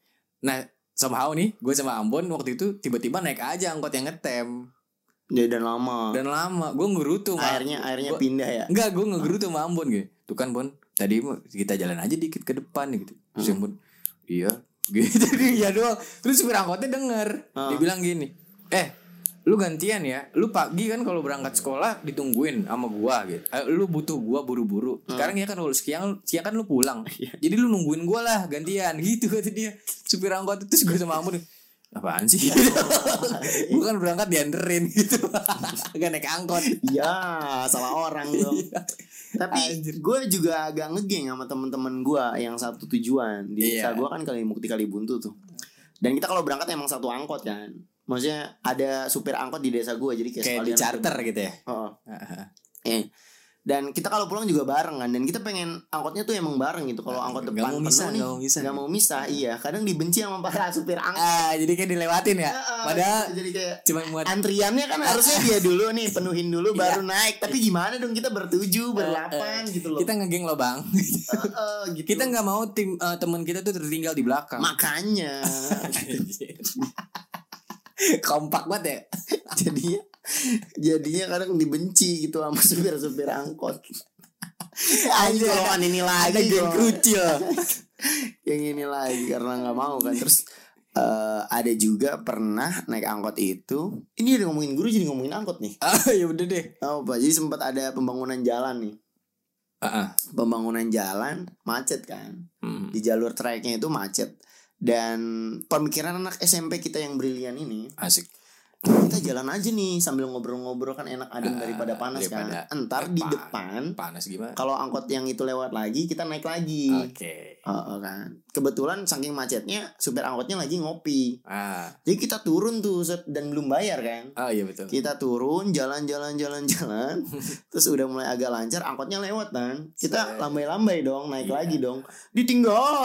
Nah, somehow nih, gue sama Ambon waktu itu tiba-tiba naik aja angkot yang ngetem. Jadi dan lama. Dan lama, gue ngerutu sama- Oh. airnya airnya gua- pindah ya. Enggak, gue ngegerutu sama Ambon gitu. Tuh kan Bon, tadi mah kita jalan aja dikit ke depan gitu. Terus Hmm. Ambon, iya. Gitu dia doang. Terus supir angkotnya denger. Ah. Dia bilang gini, eh lu gantian ya lu pagi kan kalau berangkat sekolah ditungguin sama gua gitu Eh, lu butuh gua buru-buru sekarang ya kan lu siang siang kan lu pulang jadi lu nungguin gua lah gantian gitu kata dia supir angkot terus gua sama Ambon apaan sih gua kan berangkat dianterin gitu gak naik angkot Ya salah orang dong. Iya. Tapi gue juga agak ngegeng sama temen-temen gue yang satu tujuan di desa Iya. gue kan kali mukti kali buntu tuh. Dan kita kalau berangkat emang satu angkot kan. Maksudnya ada supir angkot di desa gue jadi kayak, kayak di sekalian- charter gitu ya Heeh. Heeh. Eh. Dan kita kalau pulang juga bareng kan Dan kita pengen angkotnya tuh emang bareng gitu Kalau Ah, angkot nggak depan mau penuh misah, nih, nggak mau misah. nggak mau misah, iya Kadang dibenci sama para supir angkot Ah, jadi kayak dilewatin ya. Heeh, gitu. Padahal Jadi kayak cuma buat antriannya kan harusnya dia dulu nih penuhin dulu Iya. baru naik tapi gimana dong kita bertuju berlapan gitu loh Eh, kita ngegeng loh, Bang. Eh, eh, gitu. kita nggak mau tim eh, teman kita tuh tertinggal di belakang. makanya Kompak banget ya. jadinya jadinya kadang dibenci gitu sama supir supir angkot Anjing Ada- lawan ini Ada lagi geng gua- kerucil. yang ini lagi karena nggak mau kan terus eh, ada juga pernah naik angkot itu ini udah ngomongin guru jadi ngomongin angkot nih Ah, ya udah deh. oh, apa jadi sempat ada pembangunan jalan nih Heeh. Hmm. pembangunan jalan macet kan di jalur treknya itu macet dan pemikiran anak SMP kita yang brilian ini Asik. kita jalan aja nih sambil ngobrol-ngobrol kan enak adem Ah, daripada panas daripada- kan entar di Depan. depan Panas gimana? kalau angkot yang itu lewat lagi kita naik lagi Oke. Heeh, kan kebetulan saking macetnya supir angkotnya lagi ngopi Ah, jadi kita turun tuh set, dan belum bayar kan oh iya betul. kita turun jalan-jalan jalan-jalan terus udah mulai agak lancar angkotnya lewat kan kita Set. lambai-lambai dong naik Iya. lagi dong ditinggal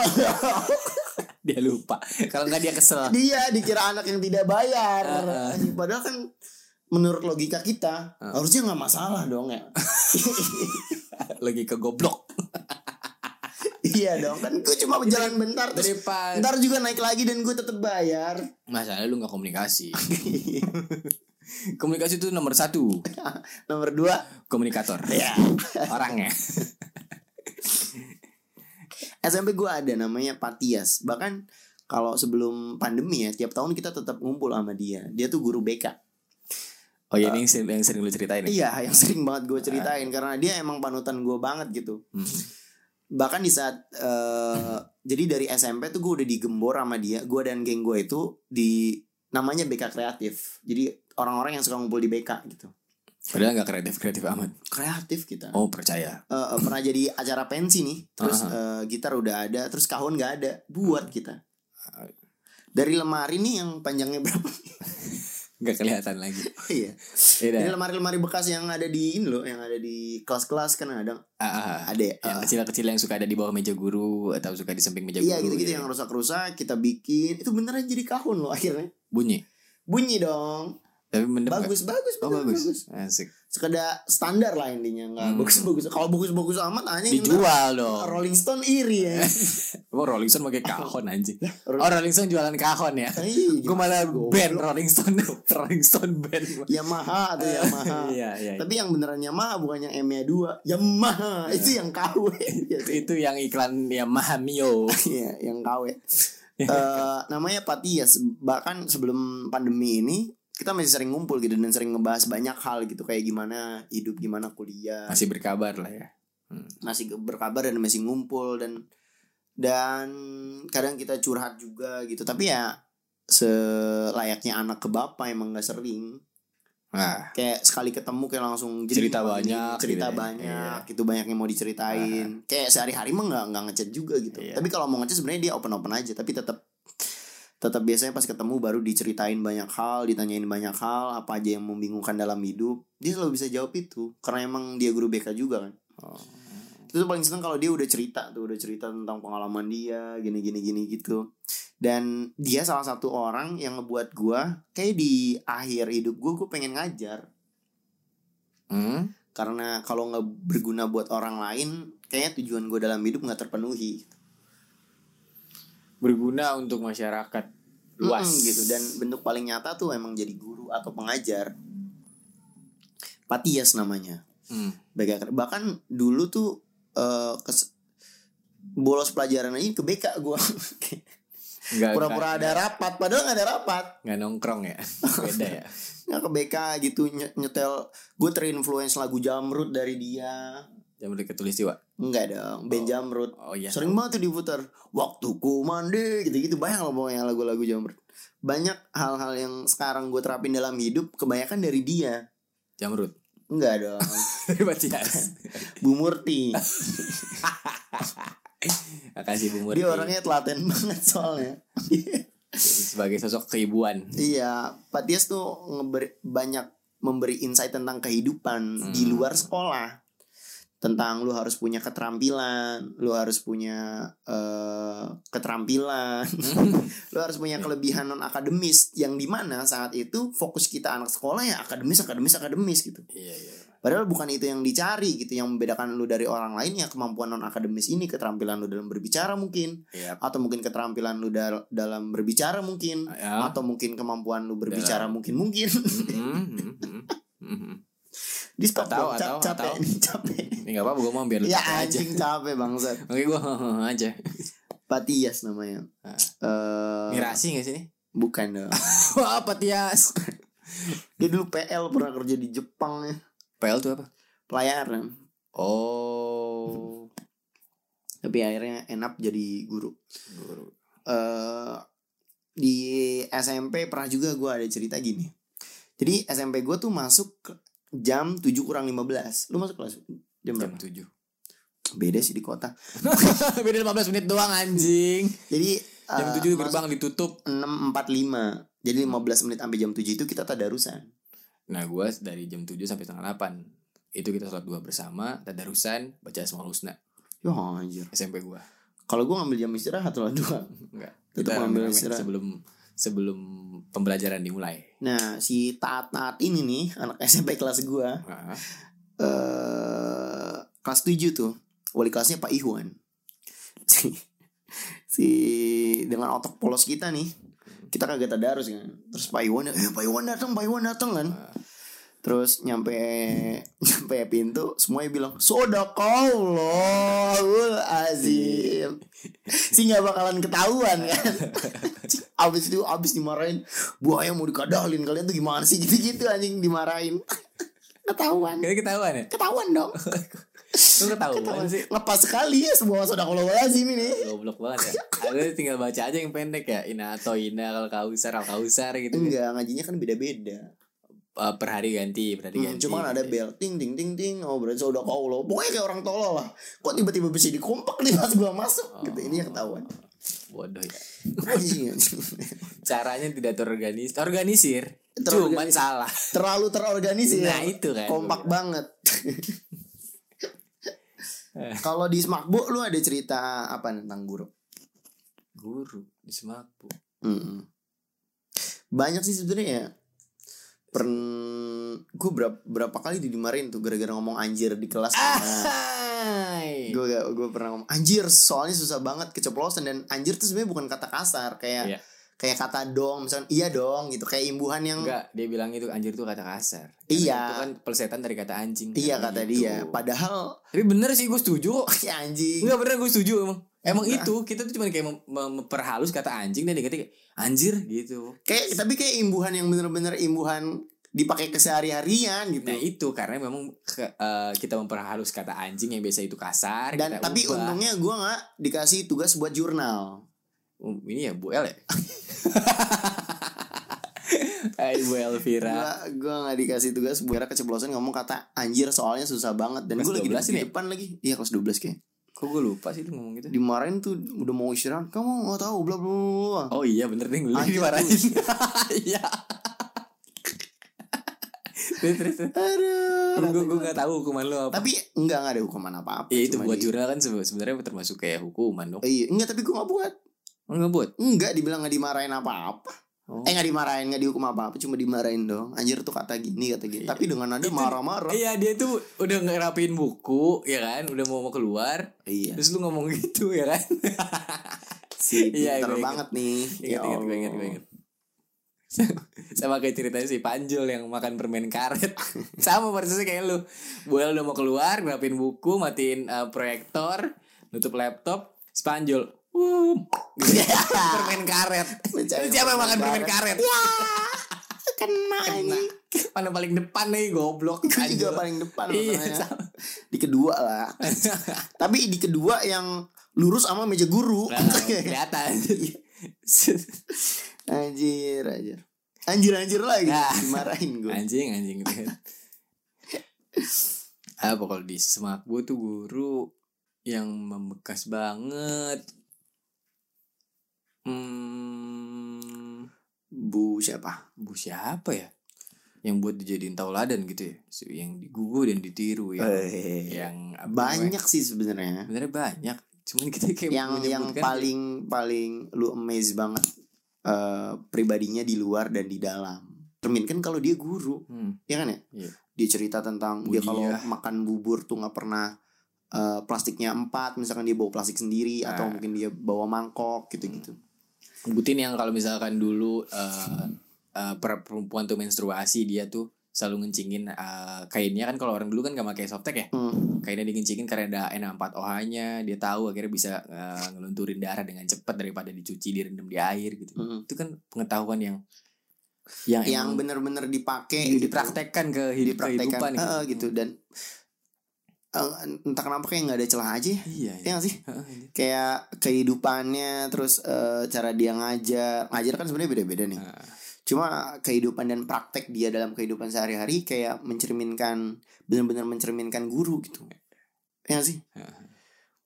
Dia lupa. Kalau nggak dia kesel. dia dikira anak yang tidak bayar Heeh. padahal kan menurut logika kita harusnya nggak masalah dong ya lagi ke goblok iya dong kan gue cuma jalan bentar terus daripada ntar juga naik lagi dan gue tetap bayar masalah lu nggak komunikasi komunikasi itu nomor satu nomor dua komunikator ya orangnya SMP gue ada namanya Patias bahkan kalau sebelum pandemi ya tiap tahun kita tetap ngumpul sama dia dia tuh guru BK oh iya ini yang sering- yang sering lu ceritain ya? iya yang sering banget gue ceritain karena dia emang panutan gue banget gitu Ah. Hmm. bahkan di saat eh, jadi dari SMP tuh gue udah digembor sama dia gue dan geng gue itu di namanya BK kreatif jadi orang-orang yang suka ngumpul di BK gitu padahal nggak kreatif kreatif amat kreatif kita oh Ah. percaya Eh, eh, pernah jadi acara pensi nih terus eh, gitar udah ada terus kahon nggak ada buat kita dari lemari nih yang panjangnya berapa nggak kelihatan lagi iya Iya, dah. dari lemari-lemari bekas yang ada di ini loh yang ada di kelas-kelas kan ada Ah, ah, ah. ada ya, yang kecil-kecil yang suka ada di bawah meja guru atau suka di samping meja iya guru gitu-gitu ya. yang rusak-rusak kita bikin itu beneran jadi kahon loh akhirnya bunyi bunyi dong tapi mendem nggak? bagus bagus oh bener, bagus. asik sekedar standar lah intinya nggak Hmm. bagus bagus kalau bagus bagus amat anjing dijual ntar dong Rolling Stone iri ya oh Rolling Stone pakai kahon anjing oh Rolling- Rolling Stone jualan kahon ya Ih, gue malah Iya. goblok. band Rolling Stone Rolling Stone band Yamaha atau Yamaha iya iya tapi yang beneran Yamaha bukan yang M nya dua Yamaha itu yang KW itu, itu yang iklan ya Mahamio Iya, yang KW Eh, namanya Patias bahkan sebelum pandemi ini kita masih sering ngumpul gitu dan sering ngebahas banyak hal gitu kayak gimana hidup gimana kuliah masih berkabar lah ya masih berkabar dan masih ngumpul dan dan kadang kita curhat juga gitu tapi ya selayaknya anak ke bapak emang nggak sering nah kayak sekali ketemu kayak langsung Cerita "Wah, ini banyak cerita gitu ya." banyak gitu banyak yang mau diceritain kayak sehari-hari mah nggak nggak ngechat juga gitu Iya. tapi kalau mau ngechat sebenarnya dia open open aja tapi tetap tetap biasanya pas ketemu baru diceritain banyak hal ditanyain banyak hal apa aja yang membingungkan dalam hidup dia selalu bisa jawab itu karena emang dia guru BK juga kan Oh. itu tuh paling seneng kalau dia udah cerita tuh udah cerita tentang pengalaman dia gini gini gini gitu dan dia salah satu orang yang ngebuat gua kayak di akhir hidup gua gue pengen ngajar Hmm? karena kalau nggak berguna buat orang lain kayaknya tujuan gue dalam hidup nggak terpenuhi berguna untuk masyarakat luas Mm-mm, gitu dan bentuk paling nyata tuh emang jadi guru atau pengajar Patias namanya Hmm. BK bahkan dulu tuh eh, kes- bolos pelajaran aja ke BK gue nggak pura-pura Iya. ada rapat padahal nggak ada rapat nggak nongkrong ya beda ya nggak ke BK gitu nye- nyetel gue terinfluence lagu Jamrut dari dia jam ketulis jiwa enggak dong Ben Oh. Jamrut oh iya Sering banget tuh diputar Waktuku mandi gitu-gitu Banyak loh pokoknya lagu-lagu jamret Banyak hal-hal yang sekarang gue terapin dalam hidup Kebanyakan dari dia jamrut Enggak dong dari Matias Bu Murti makasih Bu Murti Dia orangnya telaten banget soalnya sebagai sosok keibuan Iya Patias tuh ngeberi, banyak memberi insight tentang kehidupan Di Hmm. luar sekolah tentang lu harus punya keterampilan, lu harus punya eh, keterampilan, lu harus punya kelebihan non akademis yang dimana saat itu fokus kita anak sekolah ya akademis akademis akademis gitu iya iya padahal bukan itu yang dicari gitu yang membedakan lu dari orang lain ya kemampuan non akademis ini keterampilan lu dalam berbicara mungkin iya atau mungkin keterampilan lu dal- dalam berbicara mungkin Ya. atau mungkin kemampuan lu berbicara mungkin mungkin Mm-mm, mm-mm, mm-mm. di stop Atau- dong, cap- atau- capek atau. nih, capek ini nggak apa-apa gue mau biar lu ya capek aja anjing capek bangsat oke gue aja Patias namanya Ah. Eh, mirasi nggak sih ini bukan dong Wah, apa Tias? dia dulu PL pernah kerja di Jepang ya PL tuh apa? pelayaran Oh, tapi akhirnya enak jadi guru guru. eh di SMP pernah juga gue ada cerita gini jadi SMP gue tuh masuk ke- jam 7 kurang 15 lu masuk kelas jam Jam berapa? tujuh. beda sih di kota Beda 15 menit doang anjing. Ah, jadi eh, Jam tujuh gerbang ditutup. 6.45 jadi 15 menit sampai jam 7 itu kita tadarusan Nah, gua dari jam 7 sampai setengah 8. Itu kita sholat dua bersama, tadarusan, baca Asmaul Husna ya anjir SMP gua. kalau gue ngambil jam istirahat lah dua Enggak. Tetep Kita ngambil ambil istirahat. sebelum sebelum pembelajaran dimulai. Nah, si taat-taat ini nih anak SMP kelas gua. Heeh. eh kelas 7 tuh. Wali kelasnya Pak Ihwan. Si, si dengan otak polos kita nih. Kita kagak tadarus kan. Terus Pak Ihwan, eh Pak Ihwan datang, Pak Ihwan datang kan. Terus nyampe nyampe pintu semuanya bilang Sodakallahul azim Si nggak bakalan ketahuan kan Abis itu abis dimarahin Buaya mau dikadalin kalian tuh gimana sih gitu-gitu anjing dimarahin Ketahuan Kayaknya ketahuan ya? Ketahuan dong Lu ketahuan Ketahuan. sih. Lepas sekali ya semua Sodakallahul azim ini Goblok banget ya. Ada tinggal baca aja yang pendek ya. Inato, Ina, kalau kausar, kalau kausar gitu. kan. Enggak ngajinya kan beda-beda Eh, per hari ganti, per Hmm, hari ganti. cuman ada bel ting ting ting ting oh berarti udah kau lo pokoknya kayak orang tolol lah kok tiba-tiba bisa dikompak nih pas gua masuk gitu ini yang ketahuan Iya. Bodoh ya. Anjing, anjing. Caranya tidak terorganis terorganisir. Cuman Terorganisir. salah. terlalu terorganisir Nah, itu kan. Iya. kompak banget kalau di Smakbo lu ada cerita apa tentang guru Guru di Semaput. Mm-mm. banyak sih sebenarnya ya pern gue berapa, berapa kali didimarin tuh gara-gara ngomong anjir di kelas Ah. Hai. gue gue pernah ngomong anjir soalnya susah banget keceplosan dan anjir tuh sebenarnya bukan kata kasar kayak Iya. kayak kata dong misalkan iya dong gitu kayak imbuhan yang Enggak, dia bilang itu anjir itu kata kasar. Iya. Itu kan pelesetan dari kata anjing. iya Kan kata gitu. dia padahal Tapi bener sih gue setuju kok. ya anjing Enggak bener gue setuju emang. Emang Enggak. itu kita tuh cuma kayak mem- mem- memperhalus kata anjing dan diganti kayak anjir gitu. kayak tapi kayak imbuhan yang bener-bener imbuhan dipakai kesehari-harian gitu Nah itu karena memang ke- eh, kita memperhalus kata anjing yang biasa itu kasar. dan kita tapi ubah. untungnya gue nggak dikasih tugas buat jurnal Um, ini ya Bu El ya. Hai Bu Elvira. gua gue nggak dikasih tugas buat keceplosan ngomong kata anjir soalnya susah banget dan Kelas gue lagi 12 ini di ya? depan lagi iya kelas 12 kayak Kok gue lupa sih lu ngomong gitu? dimarahin tuh udah mau istirahat kamu nggak tahu bla bla bla, bla Oh iya bener deh lu Anjing. dimarahin. Iya. terus terus. terus. Aduh. Gue gue gak tahu hukuman lu apa. Tapi enggak enggak ada hukuman apa-apa. Ya itu Cuma buat di- jurnal kan sebe- sebenarnya termasuk kayak hukuman dong. Iya, enggak tapi gue gak buat. Enggak buat. Enggak dibilang gak dimarahin apa-apa. Oh. Eh gak dimarahin, gak dihukum apa-apa, cuma dimarahin dong. Anjir tuh kata gini, kata gini. Tapi dengan ada Iya. Itu- marah-marah. Iya dia tuh udah ngerapiin buku ya kan, udah mau mau keluar, Iya. terus lu ngomong gitu ya kan. Si Iya, pinter gue inget. banget nih. Ingat Ya ingat gue ingat gue Allah. ingat. Sama kayak ceritanya si Panjul yang makan permen karet Sama persisnya kayak lu Buel udah mau keluar Ngerapin buku Matiin eh, proyektor Nutup laptop Si Panjul "Wuh," gitu. Permen karet Mencari Lu Siapa yang makan permen permen karet Nah, Ya. Kena, anjing. Mana paling depan nih goblok Gue juga Panjul. paling depan Iya, makanya. sama. Di kedua lah. tapi di kedua yang lurus sama meja guru. Nah, kelihatan. anjir, anjir. Anjir anjir lagi Nah. dimarahin gue. anjing, anjing. Apa kalau di semak gue tuh guru yang membekas banget. Hmm, Bu siapa? bu siapa ya? Yang buat dijadiin tauladan gitu ya. Si- Yang digugu dan ditiru yang Eh, yang apa namanya? banyak sih sebenarnya. Sebenarnya banyak. Cuman kita kayak Yang yang Iya, menyebutkan paling paling lu amazed banget eh, pribadinya di luar dan di dalam. Cerminkan kalau dia guru, Hmm, ya kan ya? Iya. Dia cerita tentang dia kalau Budiah. makan bubur tuh nggak pernah eh, plastiknya empat, misalkan dia bawa plastik sendiri atau Nah. mungkin dia bawa mangkok gitu-gitu. Butin yang kalau misalkan dulu eh, eh, per- perempuan tuh menstruasi dia tuh selalu ngencingin eh, kainnya kan kalau orang dulu kan gak pakai softtek ya Hmm. kainnya dikencingin karena ada N4 OH-nya dia tahu akhirnya bisa eh, ngelunturin darah dengan cepat daripada dicuci direndam di air gitu Hmm. itu kan pengetahuan yang Yang yang Nah, emang benar-benar dipakai di- gitu. dipraktekkan ke hidup kehidupan dipraktekkan gitu. gitu dan eh, entah kenapa kayak nggak ada celah aja ya. iya Ya iya nggak sih? Heeh, iya. kayak kehidupannya terus eh, cara dia ngajar ngajar kan sebenarnya beda-beda nih Nah, cuma kehidupan dan praktek dia dalam kehidupan sehari-hari kayak mencerminkan benar-benar mencerminkan guru gitu ya nggak sih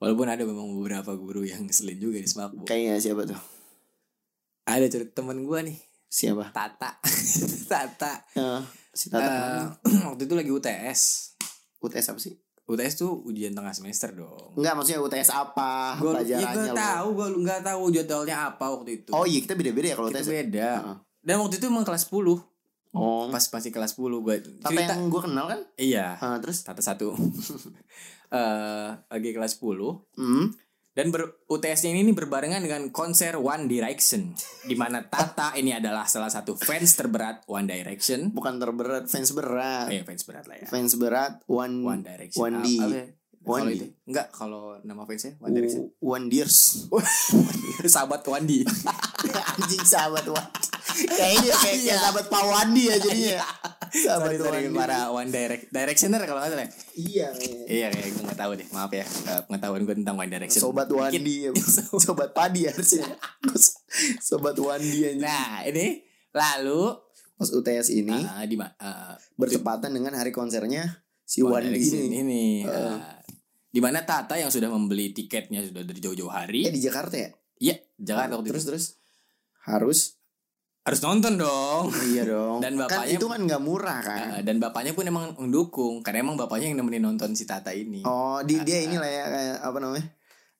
walaupun ada memang beberapa guru yang ngeselin juga di Smakbo kayak siapa tuh ada cerita temen gue nih siapa Tata Tata Eh, si Tata Eh, waktu itu lagi UTS UTS apa sih UTS tuh ujian tengah semester dong. Enggak maksudnya UTS apa Gue ya pelajarannya gue lu? tahu, gue nggak tahu jadwalnya apa waktu itu. Oh iya kita beda-beda ya kalau Kita UTS. beda. Heeh. Dan waktu itu emang kelas 10 Oh. Pas pasti kelas 10 gue Tata cerita. yang gue kenal kan? Iya. Ah, terus Tata satu. Eh, lagi kelas 10 hmm. dan ber UTS-nya ini berbarengan dengan konser One Direction di mana Tata ini adalah salah satu fans terberat One Direction. bukan terberat fans berat. Eh fans berat lah ya. Fans berat one One Direction. One Apa- D. apa ya? One Kalau D. itu enggak kalau nama fansnya One Direction. W- one years. Sahabat One D. Anjing sahabat Wan. Kayaknya kayak kayak sahabat Pak Wandi ya jadinya. Sahabat Iya. Sorry, sorry, Wandi. para One Direct Directioner kalau nggak salah. ya? Iya. men. Iya kayak gue nggak tahu deh. Maaf ya eh, pengetahuan gue tentang One Direction. Sobat Dikit. Wandi ya. Sobat Padi harusnya. Sobat Wandi anjing. Nah ini lalu Pas UTS ini ah, di ma- ah, bertepatan dengan hari konsernya si One Wandi Direction ini. ini. Heeh. ah. di mana Tata yang sudah membeli tiketnya sudah dari jauh-jauh Eh hari. di Jakarta ya? Iya, Jakarta waktu terus itu. terus harus Harus nonton dong. iya dong Dan kan bapaknya- itu kan nggak murah kan Ah, dan bapaknya pun emang mendukung karena emang bapaknya yang nemenin nonton si Tata ini. oh di Ah, dia ini lah ya kayak apa namanya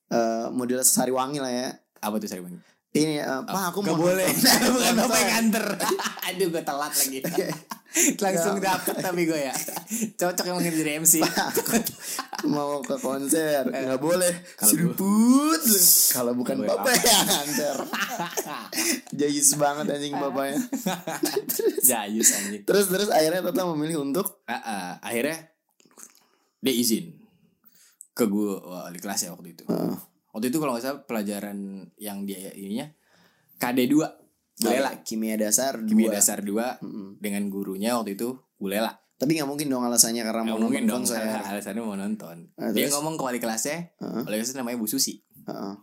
Eh model sari wangi lah ya Apa tuh sorry Bang? ini eh, pak aku Gak mau Ah, boleh nonton." Bukan ya, kan? Nonton. bapak yang nganter Aduh gue telat lagi Langsung Gak. dapet tapi gue ya Cocok yang mungkin jadi MC mau ke konser nggak boleh Eh. Kalau seruput lu. kalau bukan Kalau gue bapak yang antar jayus banget anjing bapaknya Jayus anjing terus terus akhirnya Tata memilih untuk Ah, ah, Akhirnya Dia izin Ke gue wali kelas ya waktu itu eh, Waktu itu kalau gak salah pelajaran Yang dia ininya KD2 Gulela kimia dasar Kimia dua. dasar 2 Mm-mm. Dengan gurunya waktu itu Gulela tapi nggak mungkin dong alasannya karena Gak mau mungkin nonton dong konser Alasannya mau nonton Ah, Dia terus? ngomong ke wali kelasnya Heeh, Wali kelasnya namanya Bu Susi heeh.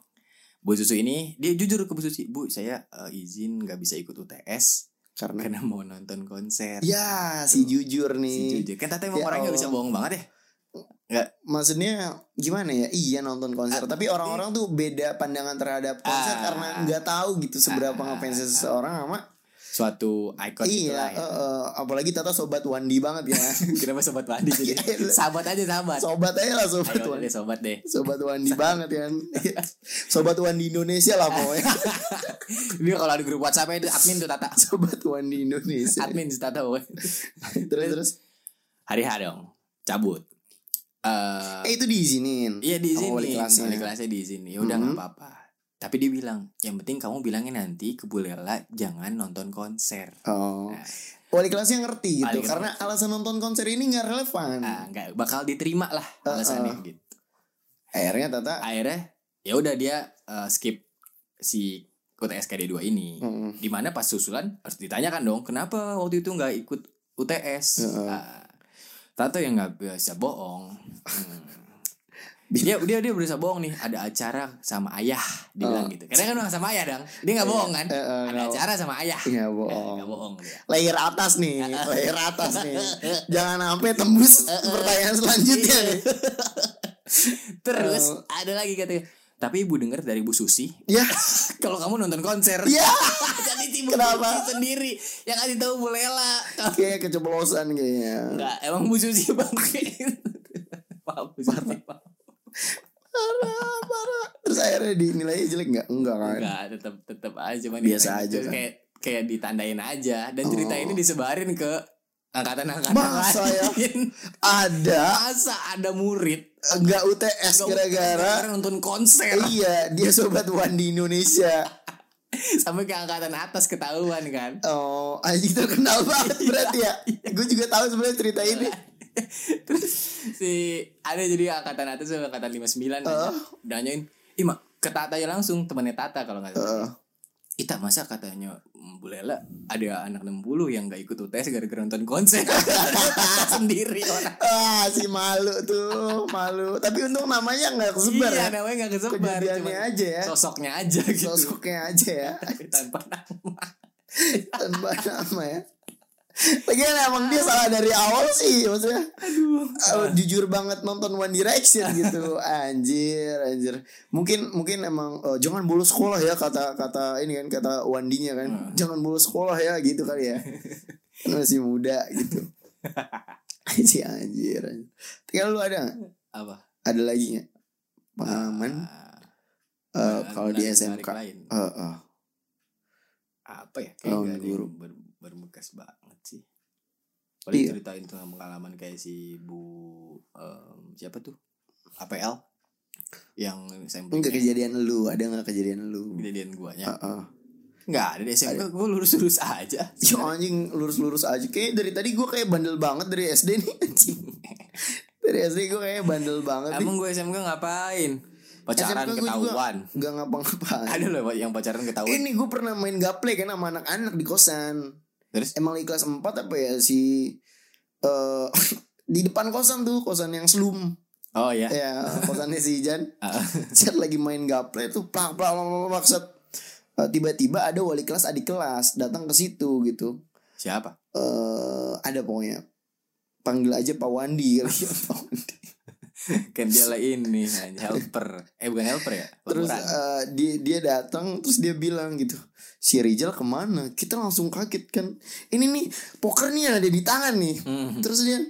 Bu Susu ini dia jujur ke Bu Susi, Bu saya eh, izin nggak bisa ikut UTS karena karena mau nonton konser. Hmm. Ya, si jujur nih. Si jujur. Kan tata emang Ya orangnya nggak Allah. bisa bohong banget ya. Maksudnya gimana ya? Iya nonton konser, Ah, tapi orang-orang tuh beda pandangan terhadap konser Ah. karena nggak tahu gitu seberapa Ah. ngefansnya seseorang sama. Suatu ikon iya, itulah ya. eh, eh, apalagi Tata sobat Wandi banget ya. Kenapa sobat Wandi jadi Gila. sahabat aja sahabat. sobat aja lah Ya, sobat Ayo Wandi. deh sobat deh. Sobat Wandi banget kan. sobat Wandi Indonesia lah pokoknya. Ini kalau di grup WhatsApp itu admin tuh tata. sobat Wandi Indonesia. Admin tuh tata pokoknya. terus terus. Hari H dong. Cabut. Eh Eh itu diizinin. Iya di sini. Sama wali Wali kelasnya. kelasnya. di sini. Ya udah nggak Mhm. apa-apa. Tapi dia bilang, yang penting kamu bilangin nanti ke Bu Lela jangan nonton konser. Oh. Nah. Wali kelasnya ngerti gitu Wali kelas karena alasan nonton konser ini nggak relevan. ah nggak bakal diterima lah Uh-uh. alasannya gitu Akhirnya Tata akhirnya ya udah dia eh, skip si UTS KD2 ini Mm-mm. dimana pas susulan harus ditanyakan dong kenapa waktu itu nggak ikut UTS Uh-uh. Ah, Tato yang nggak bisa bohong Hmm. dia dia dia berusaha bohong nih ada acara sama ayah dibilang gitu karena kan udah sama ayah dong dia nggak bohong kan Eh, eh, ada Oh. nggak- acara sama ayah Iya Eh, bohong. nggak bohong dia Layer atas nih, layer atas nih. Jangan sampai tembus pertanyaan selanjutnya nih. terus ada lagi katanya tapi ibu dengar dari Bu Susi Ya, kalau kamu nonton konser ya. jadi timbul Kenapa? Susi sendiri yang kasih tahu Bu Lela Kayak Ya, keceplosan kayaknya. enggak emang Bu Susi bangke maaf Bu Susi maaf. Parah, parah. Terus akhirnya dinilai jelek nggak? Enggak kan? enggak tetap tetap aja cuman Biasa ditandain. aja Terus kan? kayak kayak ditandain aja dan cerita Oh. ini disebarin ke angkatan-angkatan Masa ya? lain. Ada masa ada murid enggak UTS nggak gara-gara gara-gara nonton konser Iya, dia sobat Wandi Indonesia. sampai ke angkatan atas ketahuan kan Oh, anjing terkenal Iya, banget berarti ya. Gue juga tahu sebenarnya cerita ini. Terus si ada jadi angkatan atas sama angkatan Heeh. 59 uh. nanyain, "Ih, Mak, ke Tata aja langsung temannya Tata kalau nggak salah." Heeh. Ita masa katanya "Mm, Bu Lela ada anak 60 yang nggak ikut UTS gara-gara nonton konser sendiri orang. Ah, si malu tuh, malu. Tapi untung namanya nggak kesebar ya. iya, namanya nggak kesebar, Kejadiannya cuman aja ya. Sosoknya aja gitu. sosoknya aja ya Tanpa nama. tanpa nama ya Lagian emang dia salah dari awal sih maksudnya Aduh. eh, jujur banget nonton One Direction gitu anjir anjir mungkin mungkin emang eh, jangan bolos sekolah ya kata kata ini kan kata Wandinya kan Hmm. jangan bolos sekolah ya gitu kali ya Kan masih muda gitu si anjir, anjir. Tapi lu ada nggak? apa Ada lagi nggak pengalaman eh, Ah, pengalaman kalau di menarik SMK? lain. Eh, eh. apa ya Lawan kayak guru. guru ber- berbekas banget sih paling Iya. ceritain tentang pengalaman kayak si bu em, siapa tuh APL yang SMP Enggak kejadian lu, ada nggak kejadian lu? kejadian guanya Eh, eh. nggak ada di SMP gue lurus lurus aja Ya anjing lurus-lurus aja Kayaknya dari tadi gue kayak bandel banget dari SD nih anjing Dari SD gue kayak bandel banget nih emang gue SMK ngapain pacaran SMK gua juga ketahuan Gak ngapa-ngapain ada loh yang pacaran ketahuan Ini gue pernah main gaple kan sama anak-anak di kosan terus Emang di kelas 4 apa ya si eh Di depan kosan tuh kosan yang slum oh ya Ya kosannya si Jan Ah. Set lagi main gaple tuh plak plak plak plak, plak set. Eh, Tiba-tiba ada wali kelas adik kelas datang ke situ gitu siapa eh ada pokoknya panggil aja Pak Wandi kali ya, Pak Wandi. kan dia lah ini helper eh bukan helper ya terus laporan. eh, dia dia datang terus dia bilang gitu si Rizal kemana kita langsung kaget kan ini nih poker nih yang ada di tangan nih Hmm. terus dia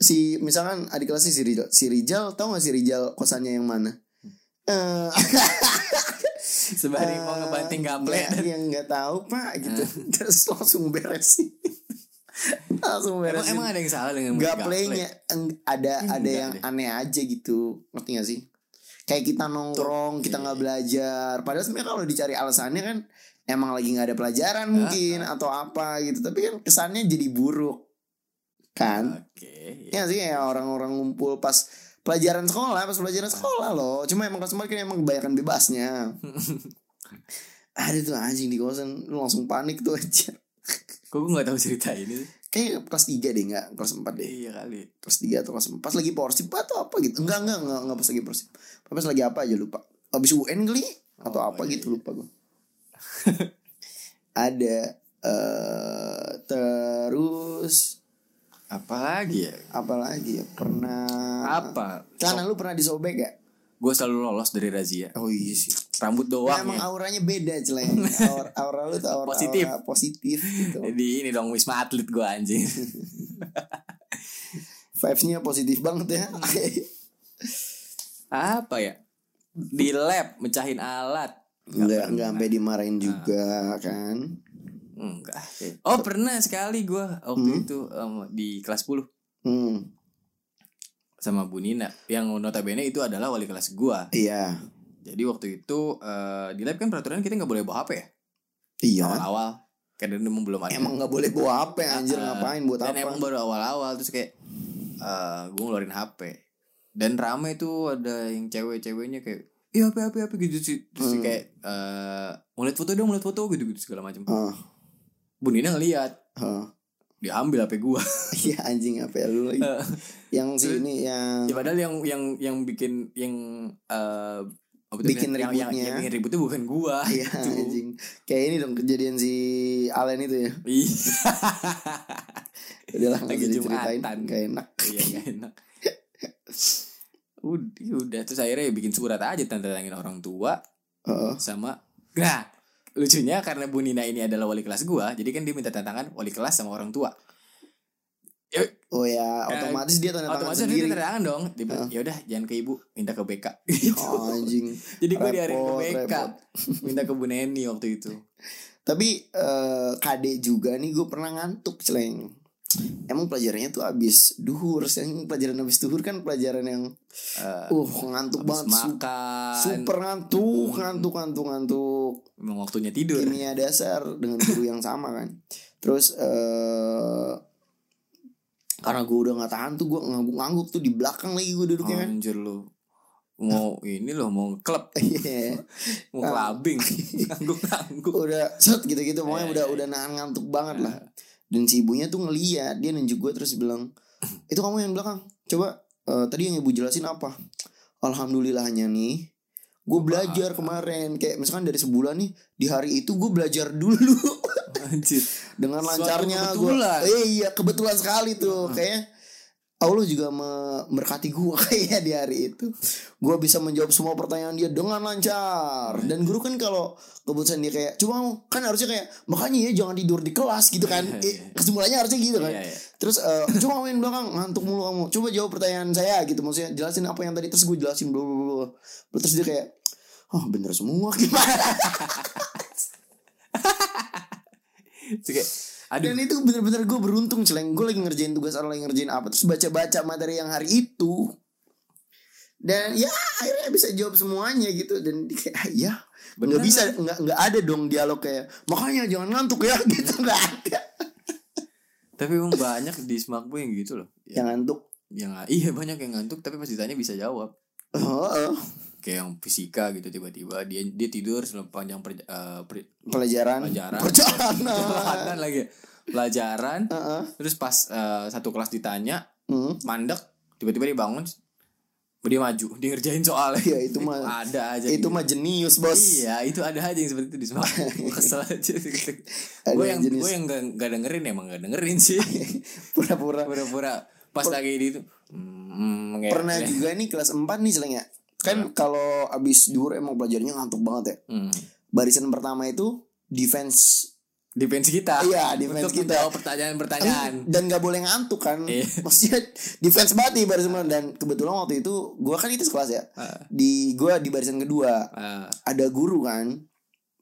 si misalkan adik kelasnya si Rizal si Rizal tahu gak si Rizal kosannya yang mana eh sebari mau ngebanting Eh. gaple nggak- yang nggak tahu pak gitu terus langsung beresin langsung Emang, beresin emang ada yang salah dengan nggak gaple? playnya eng- ada Enggak ada yang deh. aneh aja gitu ngerti gak sih kayak kita nongkrong kita Iya. nggak belajar padahal sebenarnya kalau dicari alasannya kan emang lagi nggak ada pelajaran mungkin atau apa gitu tapi kan kesannya jadi buruk kan Oke. iya. ya sih kayak orang-orang ngumpul pas pelajaran sekolah pas pelajaran sekolah loh cuma emang kelas empat kan emang kebanyakan bebasnya ada tuh anjing di kosan lu langsung panik tuh aja Kok gue gak tahu cerita ini? sih? kayak kelas 3 deh nggak kelas 4 deh Iya kali. kelas 3 atau kelas 4 pas lagi porsip atau apa gitu enggak enggak enggak, enggak pas lagi porsip pas lagi apa aja lupa habis UN kali atau Oh, apa iya, gitu lupa gue ada eh terus Apa lagi ya? apa lagi ya pernah Apa? celana lu pernah disobek ya Gue selalu lolos dari razia. oh iya sih Rambut doang. emang ya. auranya beda celana aura, aura lu tuh aura, Positif. aura positif gitu Jadi ini dong wisma atlet gue anjing. vibesnya positif banget ya Hmm. Apa ya? Di lab mecahin alat. enggak enggak sampai dimarahin Ah. juga kan Enggak. Oh pernah sekali gue waktu itu em, di kelas 10 hmm sama Bu Nina yang notabene itu adalah wali kelas gua. iya Jadi waktu itu eh, di lab kan peraturan kita nggak boleh bawa HP ya. iya Awal-awal karena memang belum ada. Emang nggak boleh bawa HP anjir Uh, ngapain buat dan apa? emang baru awal-awal terus kayak eh gue ngeluarin HP dan rame tuh ada yang cewek-ceweknya kayak iya HP HP HP gitu sih terus Hmm. kayak eh mau lihat foto dong mau lihat foto gitu gitu segala macam Heeh, Bu Nina ngeliat heeh. diambil HP gue ah. Iya anjing HP lu lagi. Eh. yang sini yang ya, padahal yang yang yang bikin yang eh apa tuh Bikin namanya? yang, yang, ributnya. yang bikin ributnya bukan gua iya gitu. anjing. Kayak ini dong kejadian si Alen itu ya. Ih. Udah lah nggak Lagi usah diceritain Jumatan. Gak enak. iya gak enak udah, udah terus akhirnya ya bikin surat aja tanda tangan orang tua Heeh. sama nah lucunya karena Bu Nina ini adalah wali kelas gua jadi kan dia minta tantangan wali kelas sama orang tua ya Oh ya otomatis dia tanda tangan otomatis dia sendiri. minta tantangan dong dia bilang ya udah jangan ke ibu minta ke BK Oh, anjing. jadi gue diarin ke Repot, BK repot. minta ke Bu Neni waktu itu Tapi eh KD juga nih gue pernah ngantuk celeng. Emang pelajarannya tuh abis duhur, Yang pelajaran abis duhur kan pelajaran yang Eh, uh ngantuk habis banget, su- makan super ngantuk, ngantuk, ngantuk, ngantuk. memang waktunya tidur kimia dasar dengan guru yang sama kan terus eh karena gue udah nggak tahan tuh gue ngangguk-ngangguk tuh di belakang lagi gue duduknya kan anjir lu mau ini loh mau klub Iya. mau clubbing ngangguk ngangguk udah set gitu-gitu pokoknya Iya, udah iya, udah nahan ngantuk banget lah dan si ibunya tuh ngeliat dia nunjuk gue terus bilang itu kamu yang belakang coba eh, tadi yang ibu jelasin apa alhamdulillahnya nih gue belajar kemarin kayak misalkan dari sebulan nih di hari itu gue belajar dulu anjir dengan Suatu lancarnya gue kebetulan. iya kebetulan sekali tuh kayaknya Allah juga memberkati gue kayak di hari itu. Gue bisa menjawab semua pertanyaan dia dengan lancar. Dan guru kan kalau keputusan dia kayak cuma kan harusnya kayak makanya ya jangan tidur di kelas gitu kan. Eh, kesimpulannya harusnya gitu kan. Iya, iya. Terus eh, cuma main belakang ngantuk mulu kamu. Coba jawab pertanyaan saya gitu maksudnya jelasin apa yang tadi terus gue jelasin bla bla bla, bla. Terus dia kayak Oh bener semua gimana Terus kayak, aduh Dan itu bener-bener gue beruntung celeng Gue lagi ngerjain tugas atau lagi ngerjain apa Terus baca-baca materi yang hari itu Dan ya akhirnya bisa jawab semuanya gitu Dan dia kayak "Ah, ya Bener. nggak bisa nggak nggak ada dong dialog kayak Makanya jangan ngantuk ya gitu nggak ada tapi emang banyak di smartphone yang gitu loh Yang ngantuk yang iya banyak yang ngantuk tapi pas ditanya bisa jawab oh, oh. kayak yang fisika gitu tiba-tiba dia dia tidur sepanjang perja- eh, per- Pelajaran Pelajaran. Perjalanan perjalanan lagi pelajaran Heeh. terus pas eh, satu kelas ditanya Ah. Hmm. mandek tiba-tiba dia bangun dia maju dia ngerjain soalnya Ya, itu mah- ada aja Itu gitu. mah jenius bos iya itu ada aja yang seperti itu di smartphone Gua kesel aja Ada gue yang jenis- gue yang gak, gak dengerin emang gak dengerin sih Pura-pura pura-pura pas lagi di itu hmm, kayak- Pernah juga nih kelas 4 nih celeng ya Kan kalau abis duhur emang pelajarannya ngantuk banget ya hmm. Barisan pertama itu defense defense kita Iya, defense Untuk kita. menjawab pertanyaan-pertanyaan dan nggak boleh ngantuk kan Kan. Iya. maksudnya defense banget nih baris semua. dan kebetulan waktu itu gue kan itu sekelas ya di gue di barisan kedua Ah, ada guru kan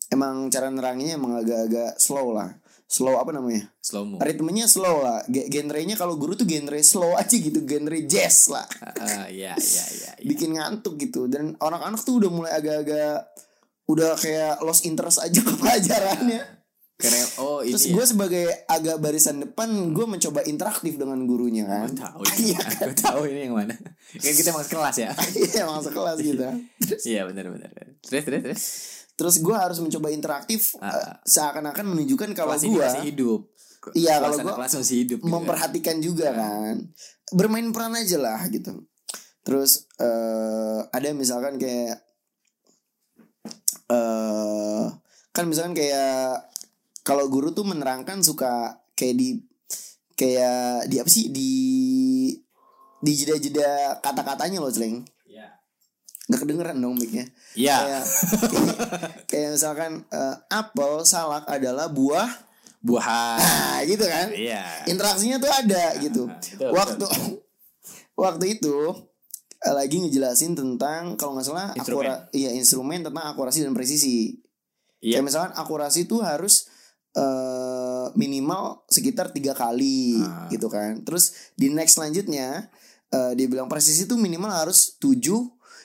emang cara neranginnya emang agak-agak slow lah slow apa namanya slow mo ritmenya slow lah Ge- genrenya kalau guru tuh genre slow aja gitu genre jazz lah Ah, iya iya iya iya. bikin ngantuk gitu dan anak-anak tuh udah mulai agak-agak udah kayak lost interest aja ke pelajarannya Keren. Oh ini. Terus ya. gue sebagai agak barisan depan gue mencoba interaktif dengan gurunya kan. Gua tahu. ini. Iya Gua tahu ini yang mana. Kan kita masuk kelas ya. Iya masuk kelas gitu. Iya benar benar. Terus terus terus. Terus gue harus mencoba interaktif eh, Ah. seakan-akan menunjukkan kalau Kelas ini gue masih hidup. gitu Iya, kalau Kelas anak gua kelas masih hidup. gitu kan. memperhatikan juga kan. Bermain peran aja lah gitu. Terus eh ada misalkan kayak eh kan misalkan kayak kalau guru tuh menerangkan suka kayak di kayak di apa sih di di jeda-jeda kata-katanya loh, Celeng. Iya. Nggak kedengeran dong mic-nya. Iya. Kayak, kayak misalkan eh, apel salak adalah buah. Buahan. Nah, gitu kan. Iya. Nah, Interaksinya tuh ada gitu. Ah, betul, waktu waktu itu eh, lagi ngejelasin tentang kalau nggak salah Instrumen. akura- iya instrumen tentang akurasi dan presisi. Iya. Kayak misalkan akurasi itu harus eh, minimal sekitar tiga kali Ah. gitu kan. Terus di next selanjutnya eh, dia bilang presisi itu minimal harus 7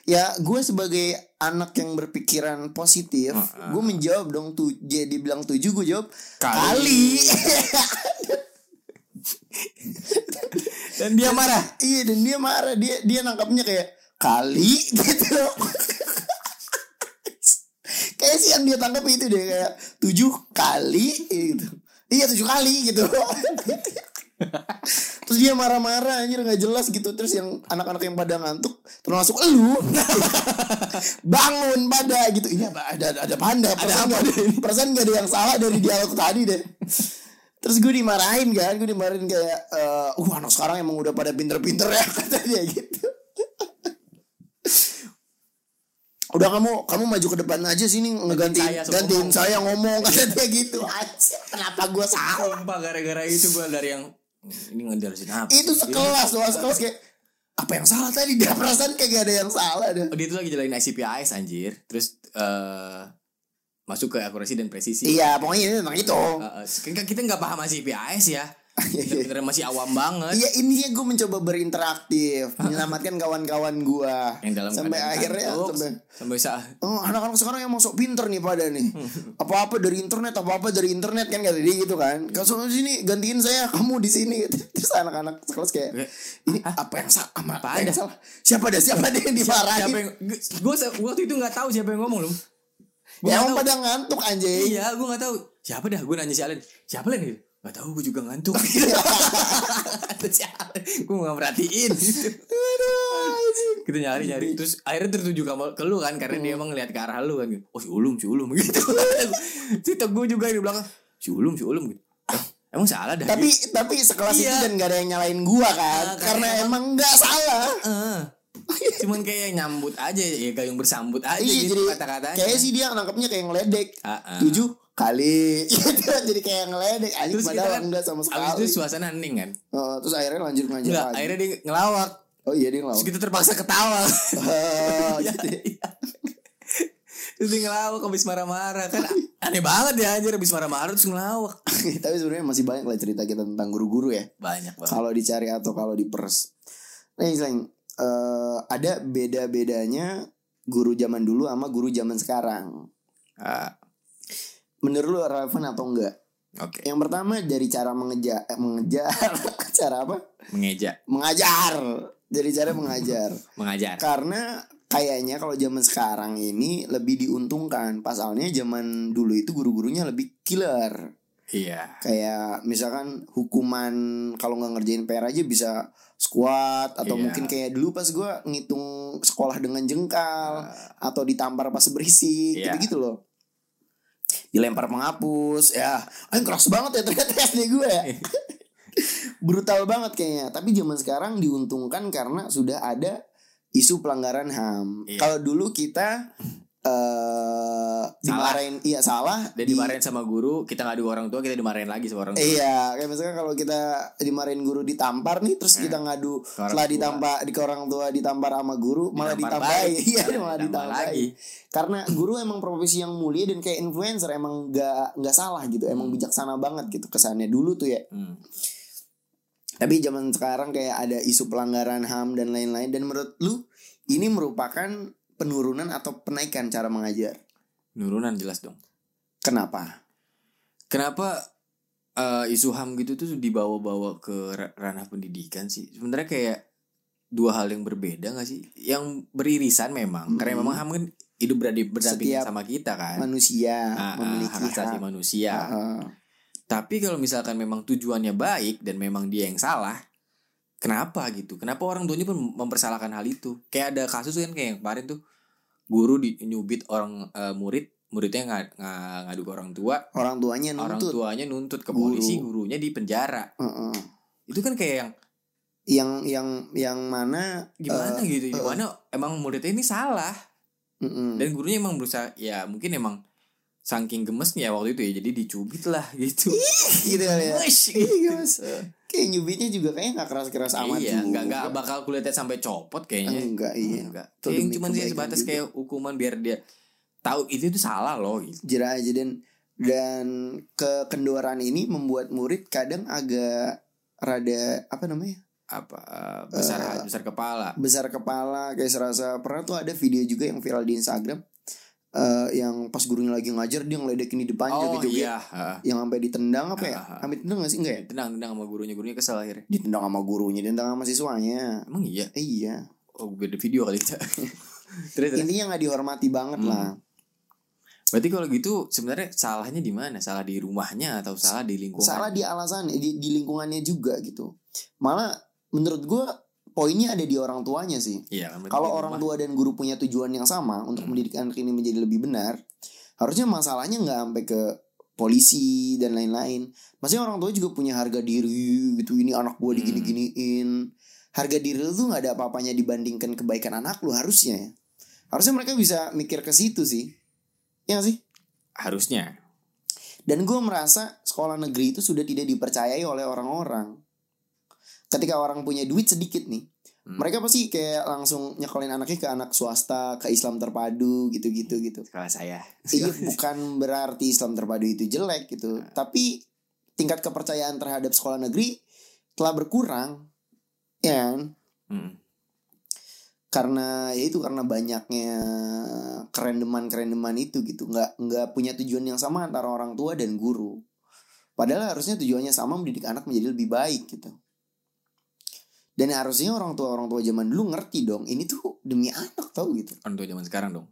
Ya gue sebagai anak yang berpikiran positif Ah, ah. Gue menjawab dong tuh Dia bilang 7 gue jawab kali. Kali. Dan dia marah. Iya dan dia marah dia dia nangkapnya kayak kali gitu. kayak sih yang dia tangkap itu deh kayak tujuh kali gitu. Iya tujuh kali gitu. Terus dia marah-marah anjir nggak jelas gitu Terus yang anak-anak yang pada ngantuk Termasuk elu Bangun pada gitu Ini apa? ada, ada, ada panda Perasaan, ada perasaan gak ada yang salah dari dialog tadi deh Terus gue dimarahin kan Gue dimarahin kayak eh, Uh anak sekarang emang udah pada pinter-pinter ya Kata dia gitu Udah kamu kamu maju ke depan aja sini ngegantiin saya suruh gantiin ngomong." saya ngomong kata dia gitu. Anjir, kenapa gue salah? Sumpah gara-gara itu gue dari yang "Hmm, ini ngejelasin apa? itu sih?" sekelas doang sekelas kayak apa yang salah tadi dia perasaan kayak gak ada yang salah deh Oh, Dia tuh lagi jalanin ICPIS anjir. Terus eh masuk ke akurasi dan presisi. iya pokoknya ini tentang itu Uh, kan kita nggak paham masih PAS ya bener-bener masih awam banget iya intinya gue mencoba berinteraktif menyelamatkan kawan-kawan gue yang dalam sampai keadaan akhirnya ngantuk, sampai sampai sa- Oh, anak-anak sekarang yang masuk pinter nih pada nih. Apa-apa dari internet, apa-apa dari internet kan kata dia gitu kan. Kalau di sini gantiin saya, kamu di sini. gitu. Terus anak-anak sekelas kayak ini "Ah, apa yang salah? Apa, yang salah? Siapa ada? Siapa ada yang dimarahin? siapa yang gue waktu itu nggak tahu siapa yang ngomong loh Gua Ya, nggak emang tahu. pada ngantuk anjing. iya gue nggak tahu siapa dah gue nanya si Alen siapa Alen gitu nggak tahu gue juga ngantuk Iya. gue ya, nggak perhatiin gitu. Aduh, anjing. kita nyari nyari Iya. terus akhirnya tertuju ke, ke lu kan karena Hmm. dia emang ngeliat ke arah lu kan gitu. oh si ulum si ulum gitu si gue juga di belakang si ulum si ulum gitu Emang salah dah. tapi tapi sekelas itu Iya. dan gak ada yang nyalain gua kan karena Ah, karena emang nggak salah Eh. Cuman kayak nyambut aja ya gayung bersambut aja iya gitu jadi kata-katanya. kayaknya sih dia nangkepnya kayak ngeledek Ah, ah. tujuh kali gitu jadi kayak ngeledek anjing Terus kita padahal kan- enggak sama sekali Abis itu suasana hening kan. Oh, terus akhirnya lanjut ngajar Enggak, lagi akhirnya dia ngelawak. oh iya dia ngelawan Terus kita terpaksa ketawa. Oh, gitu ya. Iya. Terus dia ngelawak habis marah-marah kan aneh banget ya anjir habis marah-marah terus ngelawak. tapi sebenarnya masih banyak lah cerita kita tentang guru-guru ya Banyak banget. kalau dicari atau kalau diperes. Nah, yang selain, eh, ada beda-bedanya guru zaman dulu sama guru zaman sekarang. Ah, Menurut lu relevan atau enggak? Oke, Yang pertama dari cara mengejar, mengejar, cara apa? mengeja, Mengajar. Dari cara mengajar. mengajar. Karena kayaknya kalau zaman sekarang ini lebih diuntungkan. Pasalnya zaman dulu itu guru-gurunya lebih killer. Iya. kayak misalkan hukuman kalau nggak ngerjain PR aja bisa squat atau Iya. mungkin kayak dulu pas gua ngitung sekolah dengan jengkal Ah, atau ditampar pas berisik Iya. gitu gitu loh dilempar penghapus ya Ay, keras banget ya ternyata SD gue ya brutal banget kayaknya tapi zaman sekarang diuntungkan karena sudah ada isu pelanggaran ham Iya. kalau dulu kita eh dimarahin iya salah Dia di- dimarahin sama guru, kita ngadu orang tua, kita dimarahin lagi sama orang tua. Iya, kayak misalnya kalau kita dimarahin guru ditampar nih, terus kita ngadu Iya. orang setelah tua. ditampar di ke orang tua ditampar sama guru malah Ditampar ditambahin, balik. iya Ditambah malah lagi. ditambahin. Karena guru emang profesi yang mulia dan kayak influencer emang nggak nggak salah gitu, emang bijaksana banget gitu kesannya dulu tuh ya. Hmm. Tapi zaman sekarang kayak ada isu pelanggaran HAM dan lain-lain dan menurut lu ini merupakan penurunan atau penaikan cara mengajar. Nurunan jelas dong. Kenapa? Kenapa eh, isu ham gitu tuh dibawa-bawa ke ra- ranah pendidikan sih? Sebenarnya kayak dua hal yang berbeda gak sih? Yang beririsan memang, karena Mm. memang ham kan hidup beradi- Setiap berdampingan sama kita kan. Manusia Ah, ah, memiliki hak asasi hak. manusia. Ah, ah. Tapi kalau misalkan memang tujuannya baik dan memang dia yang salah, kenapa gitu? Kenapa orang tuanya pun mempersalahkan hal itu? Kayak ada kasus kan kayak yang kemarin tuh guru di nyubit orang eh, murid, muridnya nga, nga- ngadu ke orang tua, Orang tuanya orang nuntut. tuanya nuntut ke Guru. polisi, gurunya di penjara. Ah, ah. Itu kan kayak yang yang yang yang mana gimana eh, Hmm. gitu? eh. Gimana emang muridnya ini salah mm-mm. dan gurunya emang berusaha ya mungkin emang saking gemesnya waktu itu ya jadi dicubit lah gitu. gitu kali ya Wesh, Iya, Mas. kayak nyubitnya juga kayaknya nggak keras keras amat iya, juga. nggak ya. nggak bakal kulitnya sampai copot kayaknya. enggak iya Enggak. Itu Kayak demi cuman sih kebaikan sebatas juga. kayak hukuman biar dia tahu itu itu salah loh gitu. jerah aja dan dan kekendoran ini membuat murid kadang agak rada apa namanya Apa eh, besar Eh, hati, besar kepala. besar kepala kayak serasa pernah tuh ada video juga yang viral di Instagram eh, yang pas gurunya lagi ngajar dia ngeledekin di depan Oh joget-joget. iya, heeh. yang sampai ditendang apa ya? Ah, ah. Amit tendang gak sih enggak ya? Tenang, tenang sama gurunya, gurunya kesel akhirnya. Ditendang sama gurunya, ditendang sama siswanya. Emang iya. Eh, iya. Oh, beda video kali kita. terus, terus. intinya nggak dihormati banget Gitu. Hmm. lah Berarti kalau gitu sebenarnya salahnya di mana? Salah di rumahnya atau salah di lingkungan? salah di alasan di, di lingkungannya juga gitu malah menurut gua poinnya ada di orang tuanya sih Iya, kan, berarti kalau di orang rumah. tua dan guru punya tujuan yang sama untuk Hmm. mendidik anak ini menjadi lebih benar harusnya masalahnya nggak sampai ke polisi dan lain-lain maksudnya orang tua juga punya harga diri gitu ini anak gua Hmm. digini-giniin harga diri lu tuh nggak ada apa-apanya dibandingkan kebaikan anak lu harusnya ya. harusnya mereka bisa mikir ke situ sih ya nggak sih harusnya. Dan gue merasa sekolah negeri itu sudah tidak dipercayai oleh orang-orang. Ketika orang punya duit sedikit nih, Hmm. mereka pasti kayak langsung nyekolin anaknya ke anak swasta, ke Islam terpadu gitu-gitu gitu. Sekolah saya. Iya bukan berarti Islam terpadu itu jelek gitu, tapi tingkat kepercayaan terhadap sekolah negeri telah berkurang. Ya, kan? Mm. karena ya itu karena banyaknya kerendeman kerendeman itu gitu nggak nggak punya tujuan yang sama antara orang tua dan guru padahal harusnya tujuannya sama mendidik anak menjadi lebih baik gitu dan harusnya orang tua orang tua zaman dulu ngerti dong ini tuh demi anak tau gitu Orang tua zaman sekarang dong.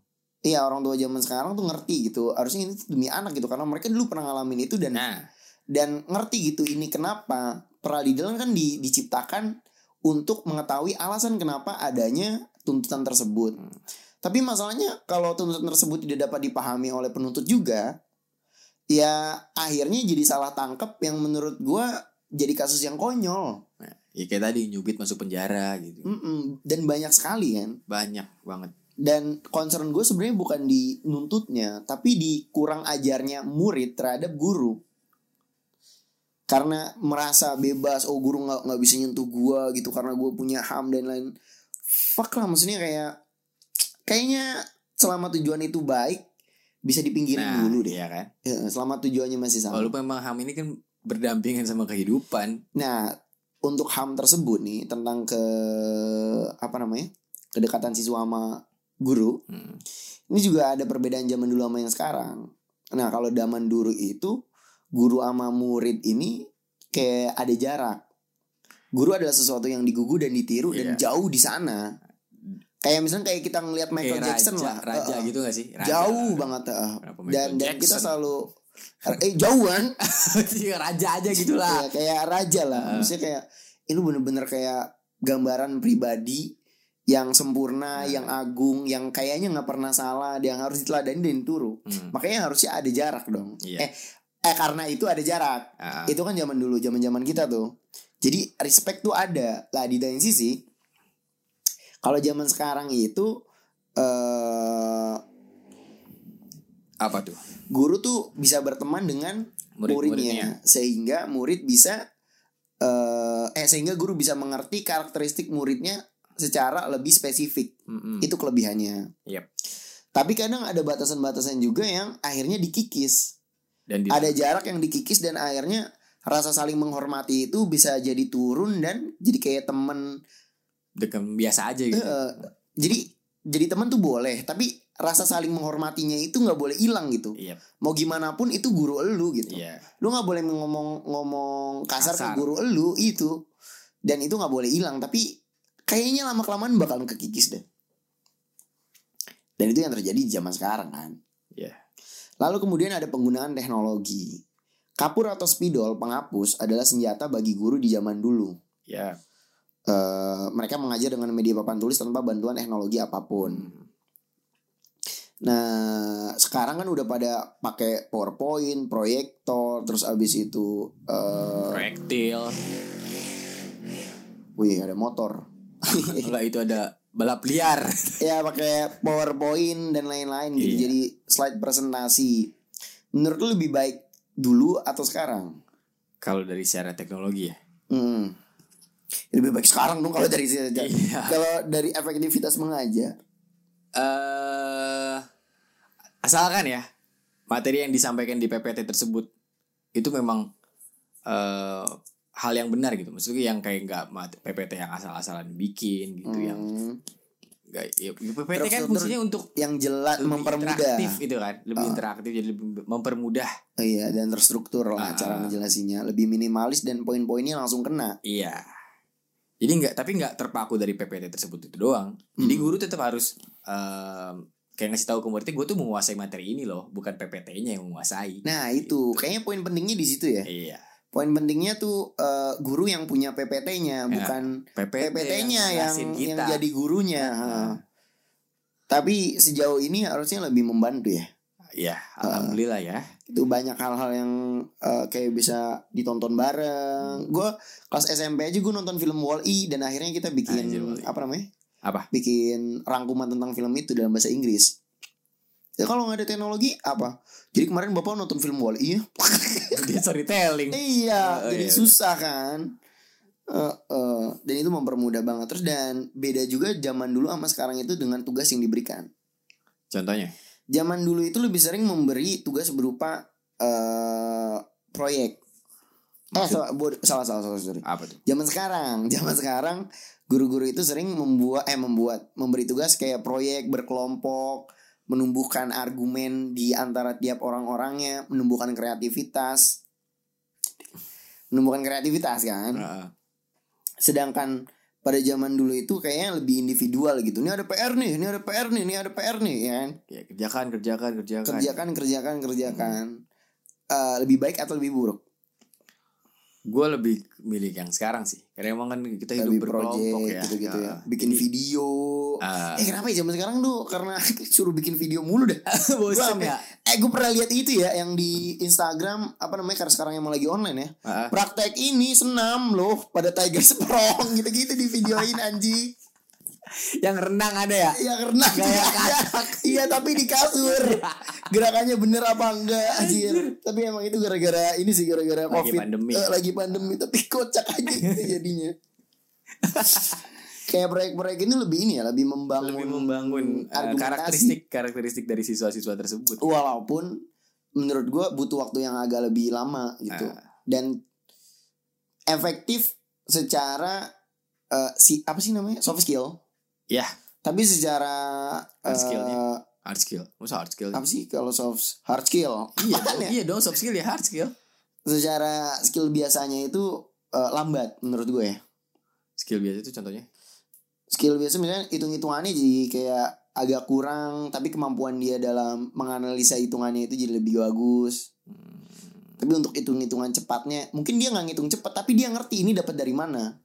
iya orang tua zaman sekarang tuh ngerti gitu harusnya ini tuh demi anak gitu karena mereka dulu pernah ngalamin itu dan Nah, dan ngerti gitu ini kenapa peradilan kan di- diciptakan untuk mengetahui alasan kenapa adanya tuntutan tersebut. Hmm. Tapi masalahnya kalau tuntutan tersebut tidak dapat dipahami oleh penuntut juga, ya akhirnya jadi salah tangkap yang menurut gua jadi kasus yang konyol Nah, ya kayak tadi nyubit masuk penjara Mm. gitu. Mm-mm. dan banyak sekali kan Banyak banget. dan concern gue sebenarnya bukan di nuntutnya tapi di kurang ajarnya murid terhadap guru karena merasa bebas oh guru nggak nggak bisa nyentuh gue gitu karena gue punya ham dan lain fuck lah maksudnya kayak kayaknya selama tujuan itu baik bisa dipinggirin Nah, dulu deh Nah. ya kan. Ya, selama tujuannya masih sama Walaupun memang ham ini kan berdampingan sama kehidupan. Nah, untuk HAM tersebut nih tentang ke apa namanya? kedekatan siswa sama guru. Hmm. Ini juga ada perbedaan zaman dulu sama yang sekarang. Nah, kalau zaman dulu itu guru sama murid ini kayak ada jarak. Guru adalah sesuatu yang digugu dan ditiru dan Iya. jauh di sana. Kayak misalnya kayak kita ngelihat Michael Kayak Jackson Eh, raja, lah. Raja Heeh. gitu gak sih? Raja Jauh lah. banget heeh. Kenapa Dan Michael dan kita Jackson? selalu eh jauhan Iya, raja aja gitu lah. Iya, kayak raja lah. Heeh. Maksudnya kayak ini bener-bener kayak gambaran pribadi yang sempurna, Nah. yang agung, yang kayaknya nggak pernah salah, yang harus diteladani dan turu. Hmm. Makanya harusnya ada jarak dong. Iya. Eh, eh karena itu ada jarak. Ah, Itu kan zaman dulu, zaman-zaman kita tuh. Jadi respect tuh ada. Lah di lain sisi kalau zaman sekarang itu eh apa tuh? guru tuh bisa berteman dengan Murid-muridnya. muridnya sehingga murid bisa eh, eh sehingga guru bisa mengerti karakteristik muridnya secara lebih spesifik Mm-mm. itu kelebihannya Yep. tapi kadang ada batasan-batasan juga yang akhirnya dikikis Dan di ada jarak yang dikikis dan akhirnya rasa saling menghormati itu bisa jadi turun dan jadi kayak temen dengan biasa aja gitu. Eh, jadi jadi teman tuh boleh tapi rasa saling menghormatinya itu nggak boleh hilang gitu Iya, mau gimana pun itu guru elu gitu iya. lu nggak boleh ngomong ngomong kasar, ke Kasar. guru elu itu dan itu nggak boleh hilang tapi kayaknya lama kelamaan bakalan kekikis deh dan itu yang terjadi di zaman sekarang kan Iya. lalu kemudian ada penggunaan teknologi kapur atau spidol penghapus adalah senjata bagi guru di zaman dulu Iya. Eh, mereka mengajar dengan media papan tulis tanpa bantuan teknologi apapun. Nah, sekarang kan udah pada pakai PowerPoint, proyektor, terus abis itu eh, Proyektil. Wih ada motor Iya. Lah itu ada balap liar. Ya pakai powerpoint dan lain-lain gitu Iya. Jadi slide presentasi Menurut lu lebih baik dulu atau sekarang? Kalau dari secara teknologi ya. Hmm. Lebih baik sekarang dong kalau dari Iya. Kalau dari efektivitas mengajar eh asalkan ya materi yang disampaikan di PPT tersebut itu memang eh hal yang benar gitu. Maksudnya yang kayak nggak mat- PPT yang asal-asalan bikin gitu yang Hmm. nggak ya, PPT kan Terus- fungsinya untuk Yang jelas lebih mempermudah interaktif gitu kan, lebih Ah. interaktif jadi lebih mempermudah. Oh Iya dan terstruktur lah Ah. cara ngejelasinnya Lebih minimalis dan poin-poinnya langsung kena Iya. Jadi nggak tapi nggak terpaku dari PPT tersebut itu doang. Jadi Hmm. guru tetap harus em, kayak ngasih tahu ke muridnya gue tuh menguasai materi ini loh, bukan PPT-nya yang menguasai. Nah itu Kayaknya poin pentingnya di situ ya Iya. Poin pentingnya tuh eh, Guru yang punya PPT-nya Ya. Bukan PPT, PPT-nya yang jelasin Ah. yang jadi gurunya. ha. Heeh. Tapi sejauh ini harusnya lebih membantu ya. ya alhamdulillah ya Itu banyak hal-hal yang eh, kayak bisa ditonton Hmm. bareng. Gue kelas SMP aja gue nonton film Wall-E dan akhirnya kita bikin Anjir, Wall-E. apa namanya? Apa? Bikin rangkuman tentang film itu dalam bahasa Inggris. Ya kalau nggak ada teknologi apa? Jadi kemarin bapak nonton film Wall-E ya? dia storytelling Iya, Oh, jadi iya, susah kan. Eh, eh, dan itu mempermudah banget terus dan beda juga zaman dulu sama sekarang itu dengan tugas yang diberikan. contohnya Zaman dulu itu lebih sering memberi tugas berupa eh proyek. Eh Maksud- salah, bo- salah salah salah sorry. apa tuh Zaman sekarang, zaman sekarang guru-guru itu sering membuat eh membuat memberi tugas kayak proyek berkelompok, menumbuhkan argumen di antara tiap orang-orangnya, menumbuhkan kreativitas. Menumbuhkan kreativitas kan. Heeh. Sedangkan pada zaman dulu itu kayaknya lebih individual gitu. Ini ada PR nih, ini ada PR nih, ini ada PR nih ya kan. ya kerjakan kerjakan kerjakan Hmm. Kerjakan kerjakan kerjakan. Eh, lebih baik atau lebih buruk? Gue lebih milih yang sekarang sih. Karena emang kan kita hidup Lebih project berkelompok ya. gitu-gitu ya. Ah, Bikin jadi- video. Ah. eh kenapa ya zaman sekarang tuh karena suruh bikin video mulu dah. Gua Bosen sampe- ya. Eh gue pernah lihat itu ya yang di Instagram apa namanya karena sekarang emang lagi online ya. Ah, ah. Praktek ini senam loh pada Tiger Sprong gitu-gitu di videoin anjing. Yang renang ada ya. Iya. Ya karena Gaya Iya tapi di kasur. Gerakannya bener apa enggak anjir. Tapi emang itu gara-gara ini sih gara-gara Lagi Covid. pandemi. Eh, lagi pandemi tapi kocak aja gitu jadinya. Kayak proyek-proyek ini lebih ini ya, lebih membangun Lebih membangun eh, argumentasi. Oh. karakteristik karakteristik dari siswa-siswa tersebut. walaupun menurut gue butuh waktu yang agak lebih lama gitu Ah. dan efektif secara eh, si apa sih namanya soft skill Yah. tapi secara eh, Hard Iya. skill-nya. Hard skill. Masa hard skill? apa sih kalau soft hard skill Iya, Apaan dong, ya? iya dong soft skill ya hard skill. secara skill biasanya itu eh, lambat menurut gue ya Skill biasa itu contohnya. skill biasa misalnya hitung hitungannya jadi kayak agak kurang tapi kemampuan dia dalam menganalisa hitungannya itu jadi lebih bagus Tapi untuk hitung-hitungan cepatnya, mungkin dia nggak ngitung cepat, tapi dia ngerti ini dapat dari mana.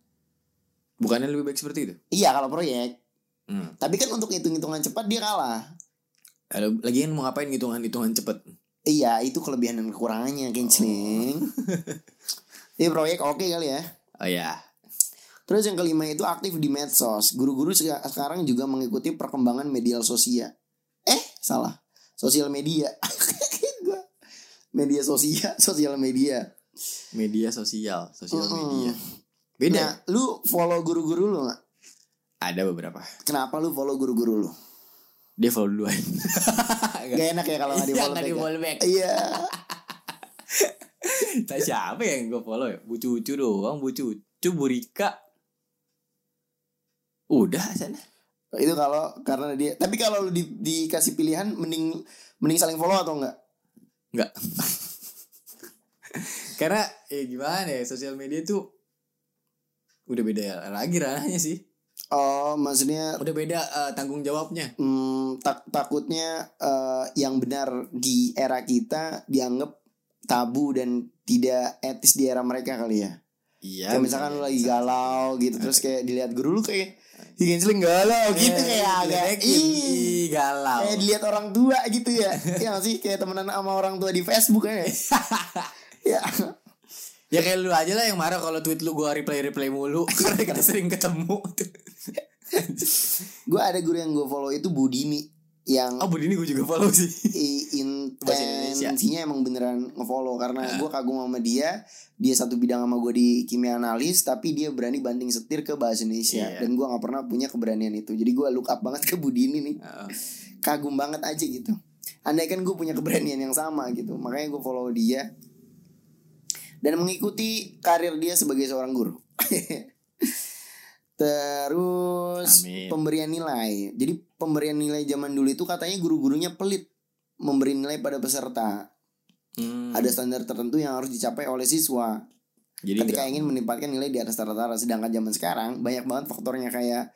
Bukannya lebih baik seperti itu? Iya kalau proyek. Hmm. Tapi kan untuk hitung-hitungan cepat dia kalah. Lalu- Lagian mau ngapain hitungan-hitungan cepet? Iya itu kelebihan dan kekurangannya, Kincling. Jadi proyek oke kali ya. Oh ya. Terus yang kelima itu aktif di medsos. Guru-guru seka- sekarang juga mengikuti perkembangan media sosial. Eh, salah. Sosial media. Gua- media sosial, sosial media. Media sosial, sosial Mm-mm. media. Beda. Nah, lu follow guru-guru lu nggak? Ada beberapa. Kenapa lu follow guru-guru lu? Dia follow duluan. Gak enak ya kalau nggak di Iya, follow nggak back ya? follow back. Iya. Nah, siapa yang gue follow ya? Bu Cucu doang, Bu Cucu, Bu Rika. Udah sana. Itu kalau karena dia. Tapi kalau lu di, dikasih pilihan mending mending saling follow atau enggak? Enggak. Karena ya gimana ya, sosial media tuh udah beda lagi ranahnya sih. Oh, maksudnya Udah beda eh, tanggung jawabnya. hmm, tak, takutnya eh, yang benar di era kita dianggap tabu dan tidak etis di era mereka kali ya. Iya. Kayak misalkan lu lagi galau gitu terus kayak dilihat guru lu kayak "Ih, Gensling Oh galau gitu kayak agak ih, Ih, galau. Kayak dilihat orang tua gitu ya Ya nggak sih Kayak temenan sama orang tua di Facebook ya Ya Ya kayak lu aja lah yang marah kalau tweet lu gua replay-replay mulu karena kita sering ketemu. Gue ada guru yang gue follow itu Budini oh, Yang Bu Dini gua juga follow sih. i- Bahasa Indonesia. Ah. intensinya emang beneran ngefollow Karena gue kagum sama dia Dia satu bidang sama gue di kimia analis Tapi dia berani banding setir ke bahasa Indonesia Iya. Dan gue gak pernah punya keberanian itu Jadi gue look up banget ke Budini nih Heeh. Kagum banget aja gitu Andai kan gue punya keberanian yang sama gitu Makanya gue follow dia Dan mengikuti karir dia sebagai seorang guru Terus Amin. pemberian nilai. Jadi pemberian nilai zaman dulu itu katanya guru-gurunya pelit memberi nilai pada peserta. Hmm. Ada standar tertentu yang harus dicapai oleh siswa Jadi ketika enggak. ingin menempatkan nilai di atas rata-rata. Sedangkan zaman sekarang banyak banget faktornya kayak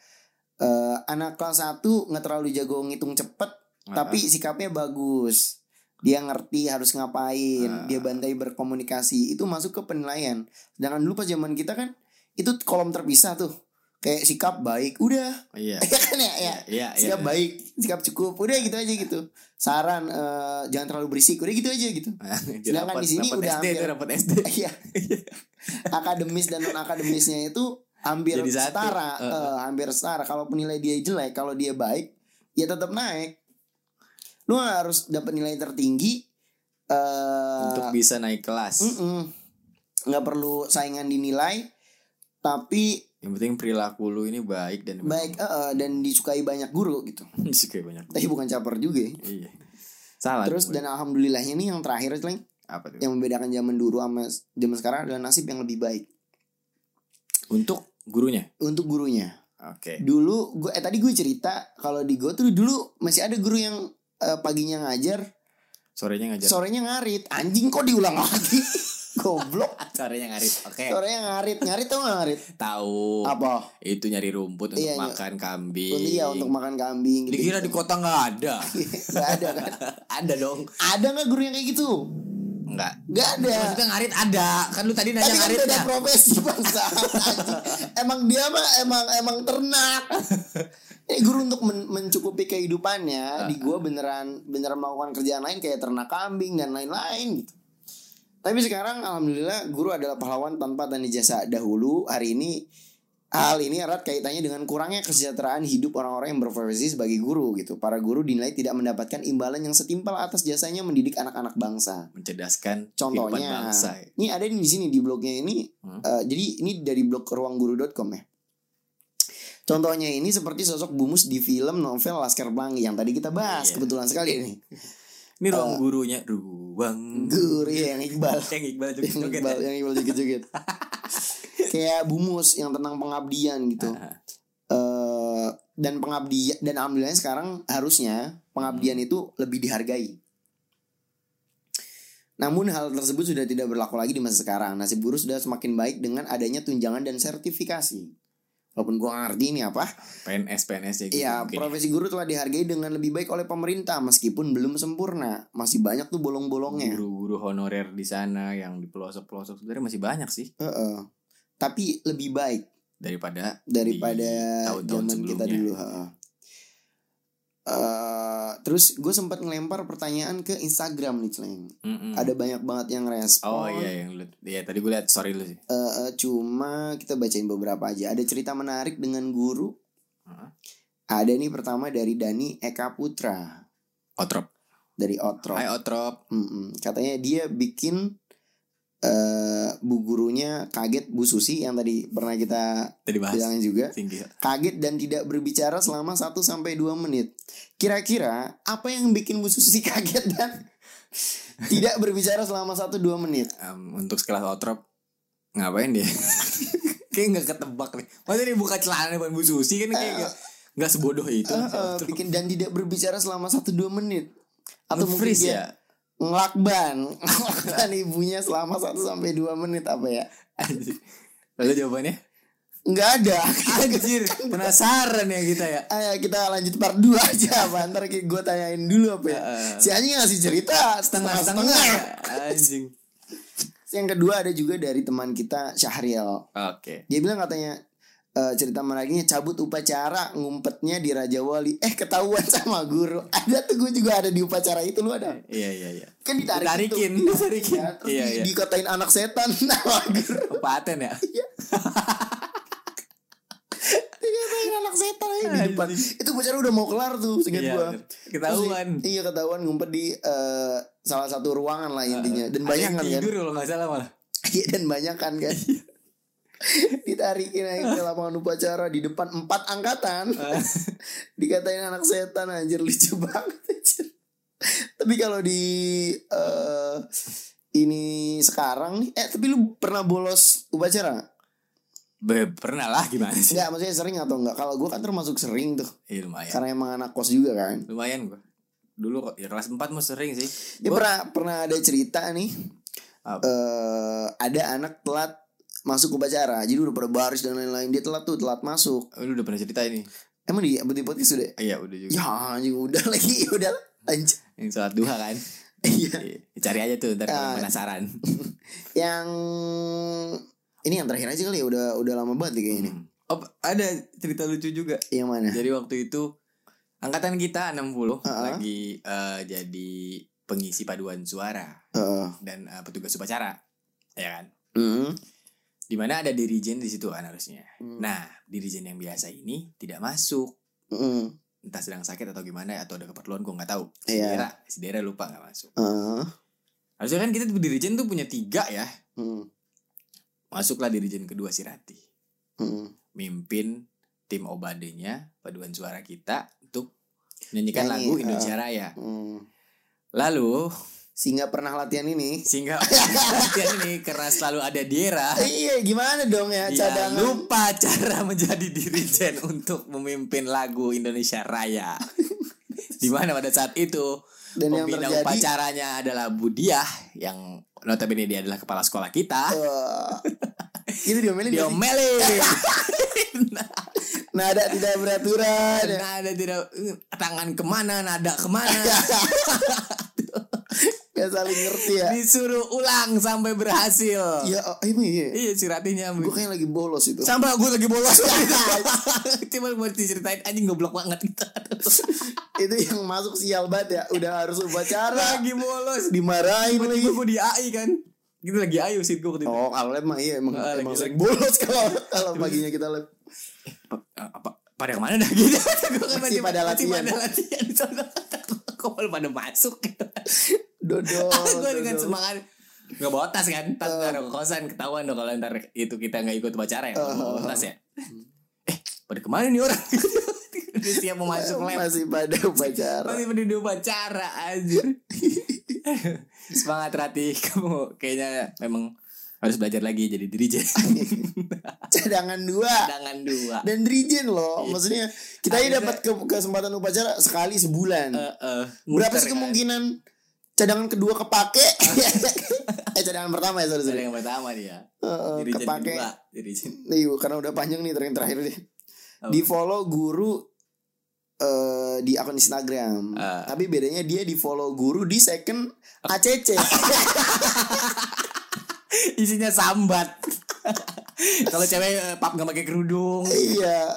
eh, anak kelas 1 nggak terlalu jago ngitung cepet Heeh. tapi sikapnya bagus. Dia ngerti harus ngapain, Ah. dia bantai berkomunikasi, itu masuk ke penilaian. Sedangkan dulu pas zaman kita kan itu kolom terpisah tuh. Kayak sikap baik, udah. iya. Ya kan ya, ya. Iya, iya. Sikap baik, sikap cukup, udah gitu aja gitu. Saran eh, jangan terlalu berisik, udah gitu aja gitu. Sedangkan di sini udah SD itu hampir- dapat SD. Iya. Akademis dan non akademisnya itu hampir Jadi satu. setara, Heeh. eh, hampir setara. Kalau penilai dia jelek, kalau dia baik, ya tetap naik. Lu harus dapat nilai tertinggi eh Untuk bisa naik kelas. mm-mm. nggak perlu saingan dinilai, tapi Yang penting perilaku lu ini baik dan baik eh, eh, dan disukai banyak guru gitu. Suka banyak. Tapi bukan caper juga. ya. Iya. Salah. Terus gue. dan alhamdulillahnya nih yang terakhir Sleng, apa tuh? yang membedakan zaman dulu sama zaman sekarang adalah nasib yang lebih baik Untuk gurunya. untuk gurunya. Oke. Dulu gue eh tadi gue cerita kalau di gue tuh dulu masih ada guru yang eh, paginya ngajar, Sorenya ngajar. sorenya ngarit. Anjing kok diulang lagi? Goblok. Sorenya ngarit. Oke. Sorenya ngarit, ngarit tau gak ngarit? Tahu. Apa? Itu nyari rumput untuk Iya, iya. makan kambing. Untuk iya untuk makan kambing. gitu. Dikira di kota nggak ada. Nggak ada kan? ada dong. Ada nggak guru yang kayak gitu? enggak. Gak ada. Maksudnya ngarit ada. Kan lu tadi nanya Tapi kan ngarit beda ya. profesi bangsa. emang dia mah emang emang ternak. Ini guru untuk men- mencukupi kehidupannya di gua beneran beneran melakukan kerjaan lain kayak ternak kambing dan lain-lain gitu. Tapi sekarang alhamdulillah guru adalah pahlawan tanpa tanda jasa dahulu hari ini Hal ini erat kaitannya dengan kurangnya kesejahteraan hidup orang-orang yang berprofesi sebagai guru gitu. Para guru dinilai tidak mendapatkan imbalan yang setimpal atas jasanya mendidik anak-anak bangsa Mencerdaskan kehidupan contohnya bangsa. ya. ini ada di sini di blognya ini Hmm. eh, jadi ini dari blog ruangguru.com ya contohnya ini seperti sosok bumus di film novel Laskar Pelangi yang tadi kita bahas Iya. kebetulan sekali ini Ini ruang Eh, gurunya ruang guru iya, yang Iqbal yang Iqbal juga yang joget. ya. Iqbal iya. yang Iqbal joget-joget kayak bumus yang tentang pengabdian gitu Eh, dan pengabdian dan alhamdulillah sekarang harusnya pengabdian Hmm. itu lebih dihargai. Namun hal tersebut sudah tidak berlaku lagi di masa sekarang. Nasib buruh sudah semakin baik dengan adanya tunjangan dan sertifikasi. Walaupun gua nggak ngerti ini apa. PNS PNS ya gitu. Iya, mungkin. profesi guru telah dihargai dengan lebih baik oleh pemerintah meskipun belum sempurna. Masih banyak tuh bolong-bolongnya. guru-guru honorer di sana yang di pelosok-pelosok sebenarnya masih banyak sih Heeh. Tapi lebih baik daripada daripada Di tahun-tahun zaman kita sebelumnya. dulu. ha. Eh, terus gue sempat ngelempar pertanyaan ke Instagram nih Celeng. Mm-mm. Ada banyak banget yang respon. Hmm. Oh iya yang lu, iya tadi gue lihat sorry lu sih. Eh, eh, cuma kita bacain beberapa aja. Ada cerita menarik dengan guru. Heeh. Ada nih pertama dari Dani Eka Putra Otrop. dari Otro. Hai Otrop. Mm-mm. Katanya dia bikin eh bu gurunya kaget Bu Susi yang tadi pernah kita Tadi bahas bilangin juga. tinggi. kaget dan tidak berbicara selama 1 sampai 2 menit. Kira-kira apa yang bikin Bu Susi kaget dan tidak berbicara selama 1 2 menit? Em, untuk sekelas Otrop ngapain dia? kayak nggak ketebak nih. Maksudnya dia buka celana depan Bu Susi kan kayak nggak nggak sebodoh Eh, itu. eh, bikin dan tidak berbicara selama 1 2 menit. Atau mungkin freeze dia ya? ngelakban, ngelakban ibunya selama 1 sampai 2 menit apa ya? Anjir. Lalu jawabannya? Nggak ada. Anjir, penasaran ya kita ya. Ayo kita lanjut part 2 aja apa ntar gue tanyain dulu apa ya. Eh, Si anjing ngasih cerita Setengah-setengah setengah-setengah. ya? Anjing. Yang kedua ada juga dari teman kita Syahrial. Oke. Dia bilang katanya eh, cerita menariknya cabut upacara ngumpetnya di Raja Wali. Eh ketahuan sama guru. Ada tuh gue juga ada di upacara itu lu ada. Iya iya iya. Kan ditarikin. Ditarikin, tuh. ditarikin. Ya, terus Iya, di- iya. dikatain anak setan sama guru. Kepaten ya. Dikatain Iya, anak setan aja di depan. Anjing. Itu upacara udah mau kelar tuh seingat Iya, gua. bener. Ketahuan. Terus di- Iya ketahuan ngumpet di eh, salah satu ruangan lah intinya. Dan banyak Banyak kan kan. tidur Iya. kalau nggak salah malah. Iya dan banyak kan kan. Ditarikin aja ke lapangan upacara di depan empat angkatan. Dikatain anak setan anjir lucu banget anjir. Tapi kalau di eh, ini sekarang nih eh tapi lu pernah bolos upacara? Be- pernah lah gimana sih? Enggak, maksudnya sering atau enggak? Kalau gua kan termasuk sering tuh Iya Ya. lumayan. karena emang anak kos juga kan. Lumayan gua. Dulu kok ya kelas 4 mah sering sih. Ini Gua- pernah pernah ada cerita nih. Apa? eh ada anak telat masuk upacara. Jadi udah pada baris dan lain-lain. Dia telat tuh, telat masuk. Lu udah pernah cerita ini? Emang di di podcast sudah? Iya udah juga. Ya anjing udah lagi udah anjing. Yang sholat duha kan? Iya. Iya. Cari aja tuh ntar Ah. kalau penasaran. Yang ini yang terakhir aja kali ya udah udah lama banget ya kayaknya ini. Ya. Hmm. Oh, ada cerita lucu juga. Yang mana? Jadi waktu itu angkatan kita 60 Heeh. lagi eh, jadi pengisi paduan suara Heeh. dan eh, petugas upacara. Ya kan? Mm. Dimana ada dirijen di situ kan harusnya. Mm. Nah, dirijen yang biasa ini tidak masuk. Mm. Entah sedang sakit atau gimana ya, atau ada keperluan gue nggak tahu. Si Iya. Dera, si Dera lupa nggak masuk. Heeh. Harusnya kan kita tuh dirijen tuh punya tiga ya. Mm. Masuklah dirijen kedua si Rati. Mm. Mimpin tim obadenya paduan suara kita untuk menyanyikan Nyanyi, lagu eh. Indonesia Raya. Mm. Lalu Sehingga pernah latihan ini. sehingga perhatian ini karena selalu ada Dera. Eh, iya gimana dong ya Dia cadangan. lupa cara menjadi dirijen untuk memimpin lagu Indonesia Raya. Dimana pada saat itu Dan yang pembina terjadi- upacaranya adalah Budiah yang notabene dia adalah kepala sekolah kita. Oh, Wah. itu diomelin Dia nggak sih? omelin. nada tidak beraturan ya. Iya. Nada tidak tangan kemana, nada kemana. Gak saling ngerti ya. Disuruh ulang sampai berhasil. Iya, oh, emang iya. Iya si Ratihnya Gue kayaknya lagi bolos itu. Sama gue lagi bolos Iya, Cuma mau diceritain anjing goblok banget kita itu yang masuk sial banget ya. Udah harus upacara. Lagi bolos Dimarahin lagi. Tiba-tiba gue di AI kan Gitu lagi AI usit gue waktu itu Oh, kalau lab mah iya emang, Ah, emang lagi- sering bolos kalau kalau paginya kita lab. Ah, apa pada kemana dah gitu gue kan Masih pada latihan. pada latihan di sana. kok malah pada masuk gitu Dodol. gue dengan dodol. semangat nggak bawa tas kan tas Oh. taruh ke kosan ketahuan dong kalau ntar itu kita nggak ikut upacara ya nggak Oh. bawa tas ya eh pada kemana nih orang dia siap mau masuk lab masih pada upacara. masih pada di upacara anjir semangat Rati kamu kayaknya memang harus belajar lagi jadi dirijen Iya. Cadangan dua. cadangan dua Dan dirijen loh, Iya. maksudnya kita ini dapat ke- kesempatan upacara sekali sebulan. Eh, eh, Berapa muter sih kan. kemungkinan cadangan kedua kepake? eh cadangan pertama ya sorry sorry. Dari yang pertama dia. Heeh, Jadi jadi Eh, kepake. kedua. Jadi jadi- Nih, karena udah panjang nih terakhir terakhir deh. Apa? Di follow guru eh, di akun Instagram. Ah. Tapi bedanya dia di follow guru di second ACC. isinya sambat. Kalau cewek eh, pap nggak pakai kerudung, iya,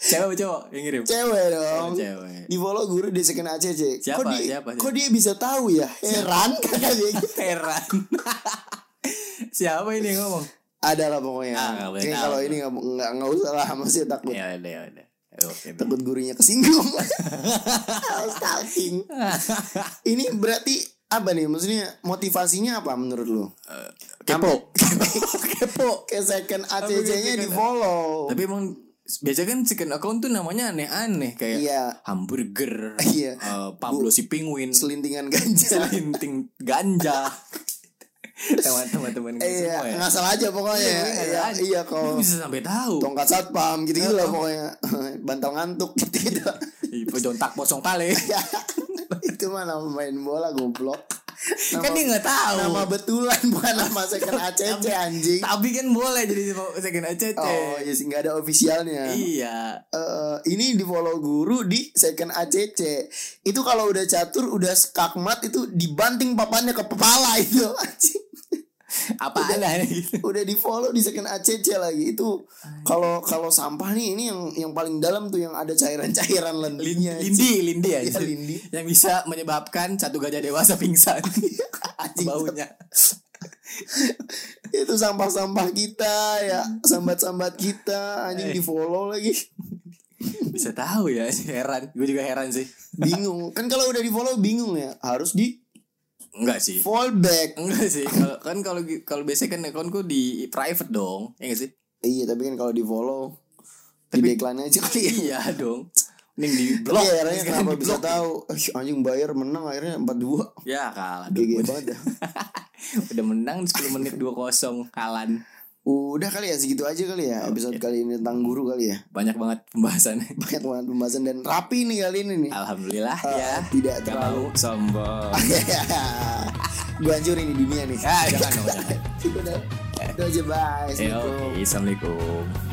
cewek apa cowok yang ngirim? cewek dong. Oh, cewek. Di follow guru di second ACC. Siapa? Kok dia, Siapa? Kok dia bisa tahu ya? Heran kata dia. Heran. Siapa ini yang ngomong? Ada lah pokoknya. Ah, nggak boleh Kayaknya tahu. kalau ini nggak nggak nggak usah lah masih takut. Ya udah, ya udah. Oke. takut gurunya kesinggung stalking ini berarti apa nih maksudnya motivasinya apa menurut lu Eh, kepo kepo ke second ACC nya di follow Tapi emang biasanya kan second account tuh namanya aneh-aneh kayak Iya. hamburger, Iya. eh, Pablo si penguin, selintingan ganja selinting ganja. Teman-teman iya semua ya. ngasal aja pokoknya Iya, iya ngasal iya, aja. iya Lu kalau bisa sampai tahu. tongkat satpam gitu gitu lah pokoknya bantal ngantuk gitu gitu Ih, Jontak kosong kali. Iya, itu mah nama main bola goblok kan dia nggak tahu. nama betulan bukan nama second ACC anjing Tapi kan boleh jadi second ACC. Oh iya sih nggak ada ofisialnya. Iya. Eh, ini di follow guru di second ACC itu kalau udah catur udah skakmat itu dibanting papannya ke kepala itu anjing Apa ada gitu? udah di follow di second ACC lagi itu kalau kalau sampah nih ini yang yang paling dalam tuh yang ada cairan-cairan lendirnya Lindi, Lindi ya. Iya, Lindi. Yang bisa menyebabkan satu gajah dewasa pingsan. Anjing. Baunya. itu sampah-sampah kita ya Hmm. sambat-sambat kita Eh. anjing di follow lagi Bisa tahu ya, heran. Gue juga heran sih. bingung kan kalau udah di follow bingung ya harus di Enggak sih. follow back Enggak sih. Kalau kan kalau kalau biasanya kan accountku di private dong. Ya nggak sih? Iya tapi kan kalau di follow Tapi- Di backline aja kali ya Iya dong. Mending di Tapi blok. akhirnya Sekarang Iya, kenapa di bisa blok. tahu "Ih, Anjing bayar menang akhirnya 4-2 Ya kalah. GG dong. banget ya Udah menang 10 menit 2-0 kalan. Udah kali ya segitu aja kali ya Episode kali ini tentang guru kali ya Banyak banget pembahasannya. Banyak banget pembahasan dan rapi nih kali ini nih Alhamdulillah Eh, ya. Tidak Gak terlalu mau sombong. Gue hancurin di dunia nih Ah, jangan dong. jangan. Udah Udah aja bye Eh, oke. Assalamualaikum Assalamualaikum.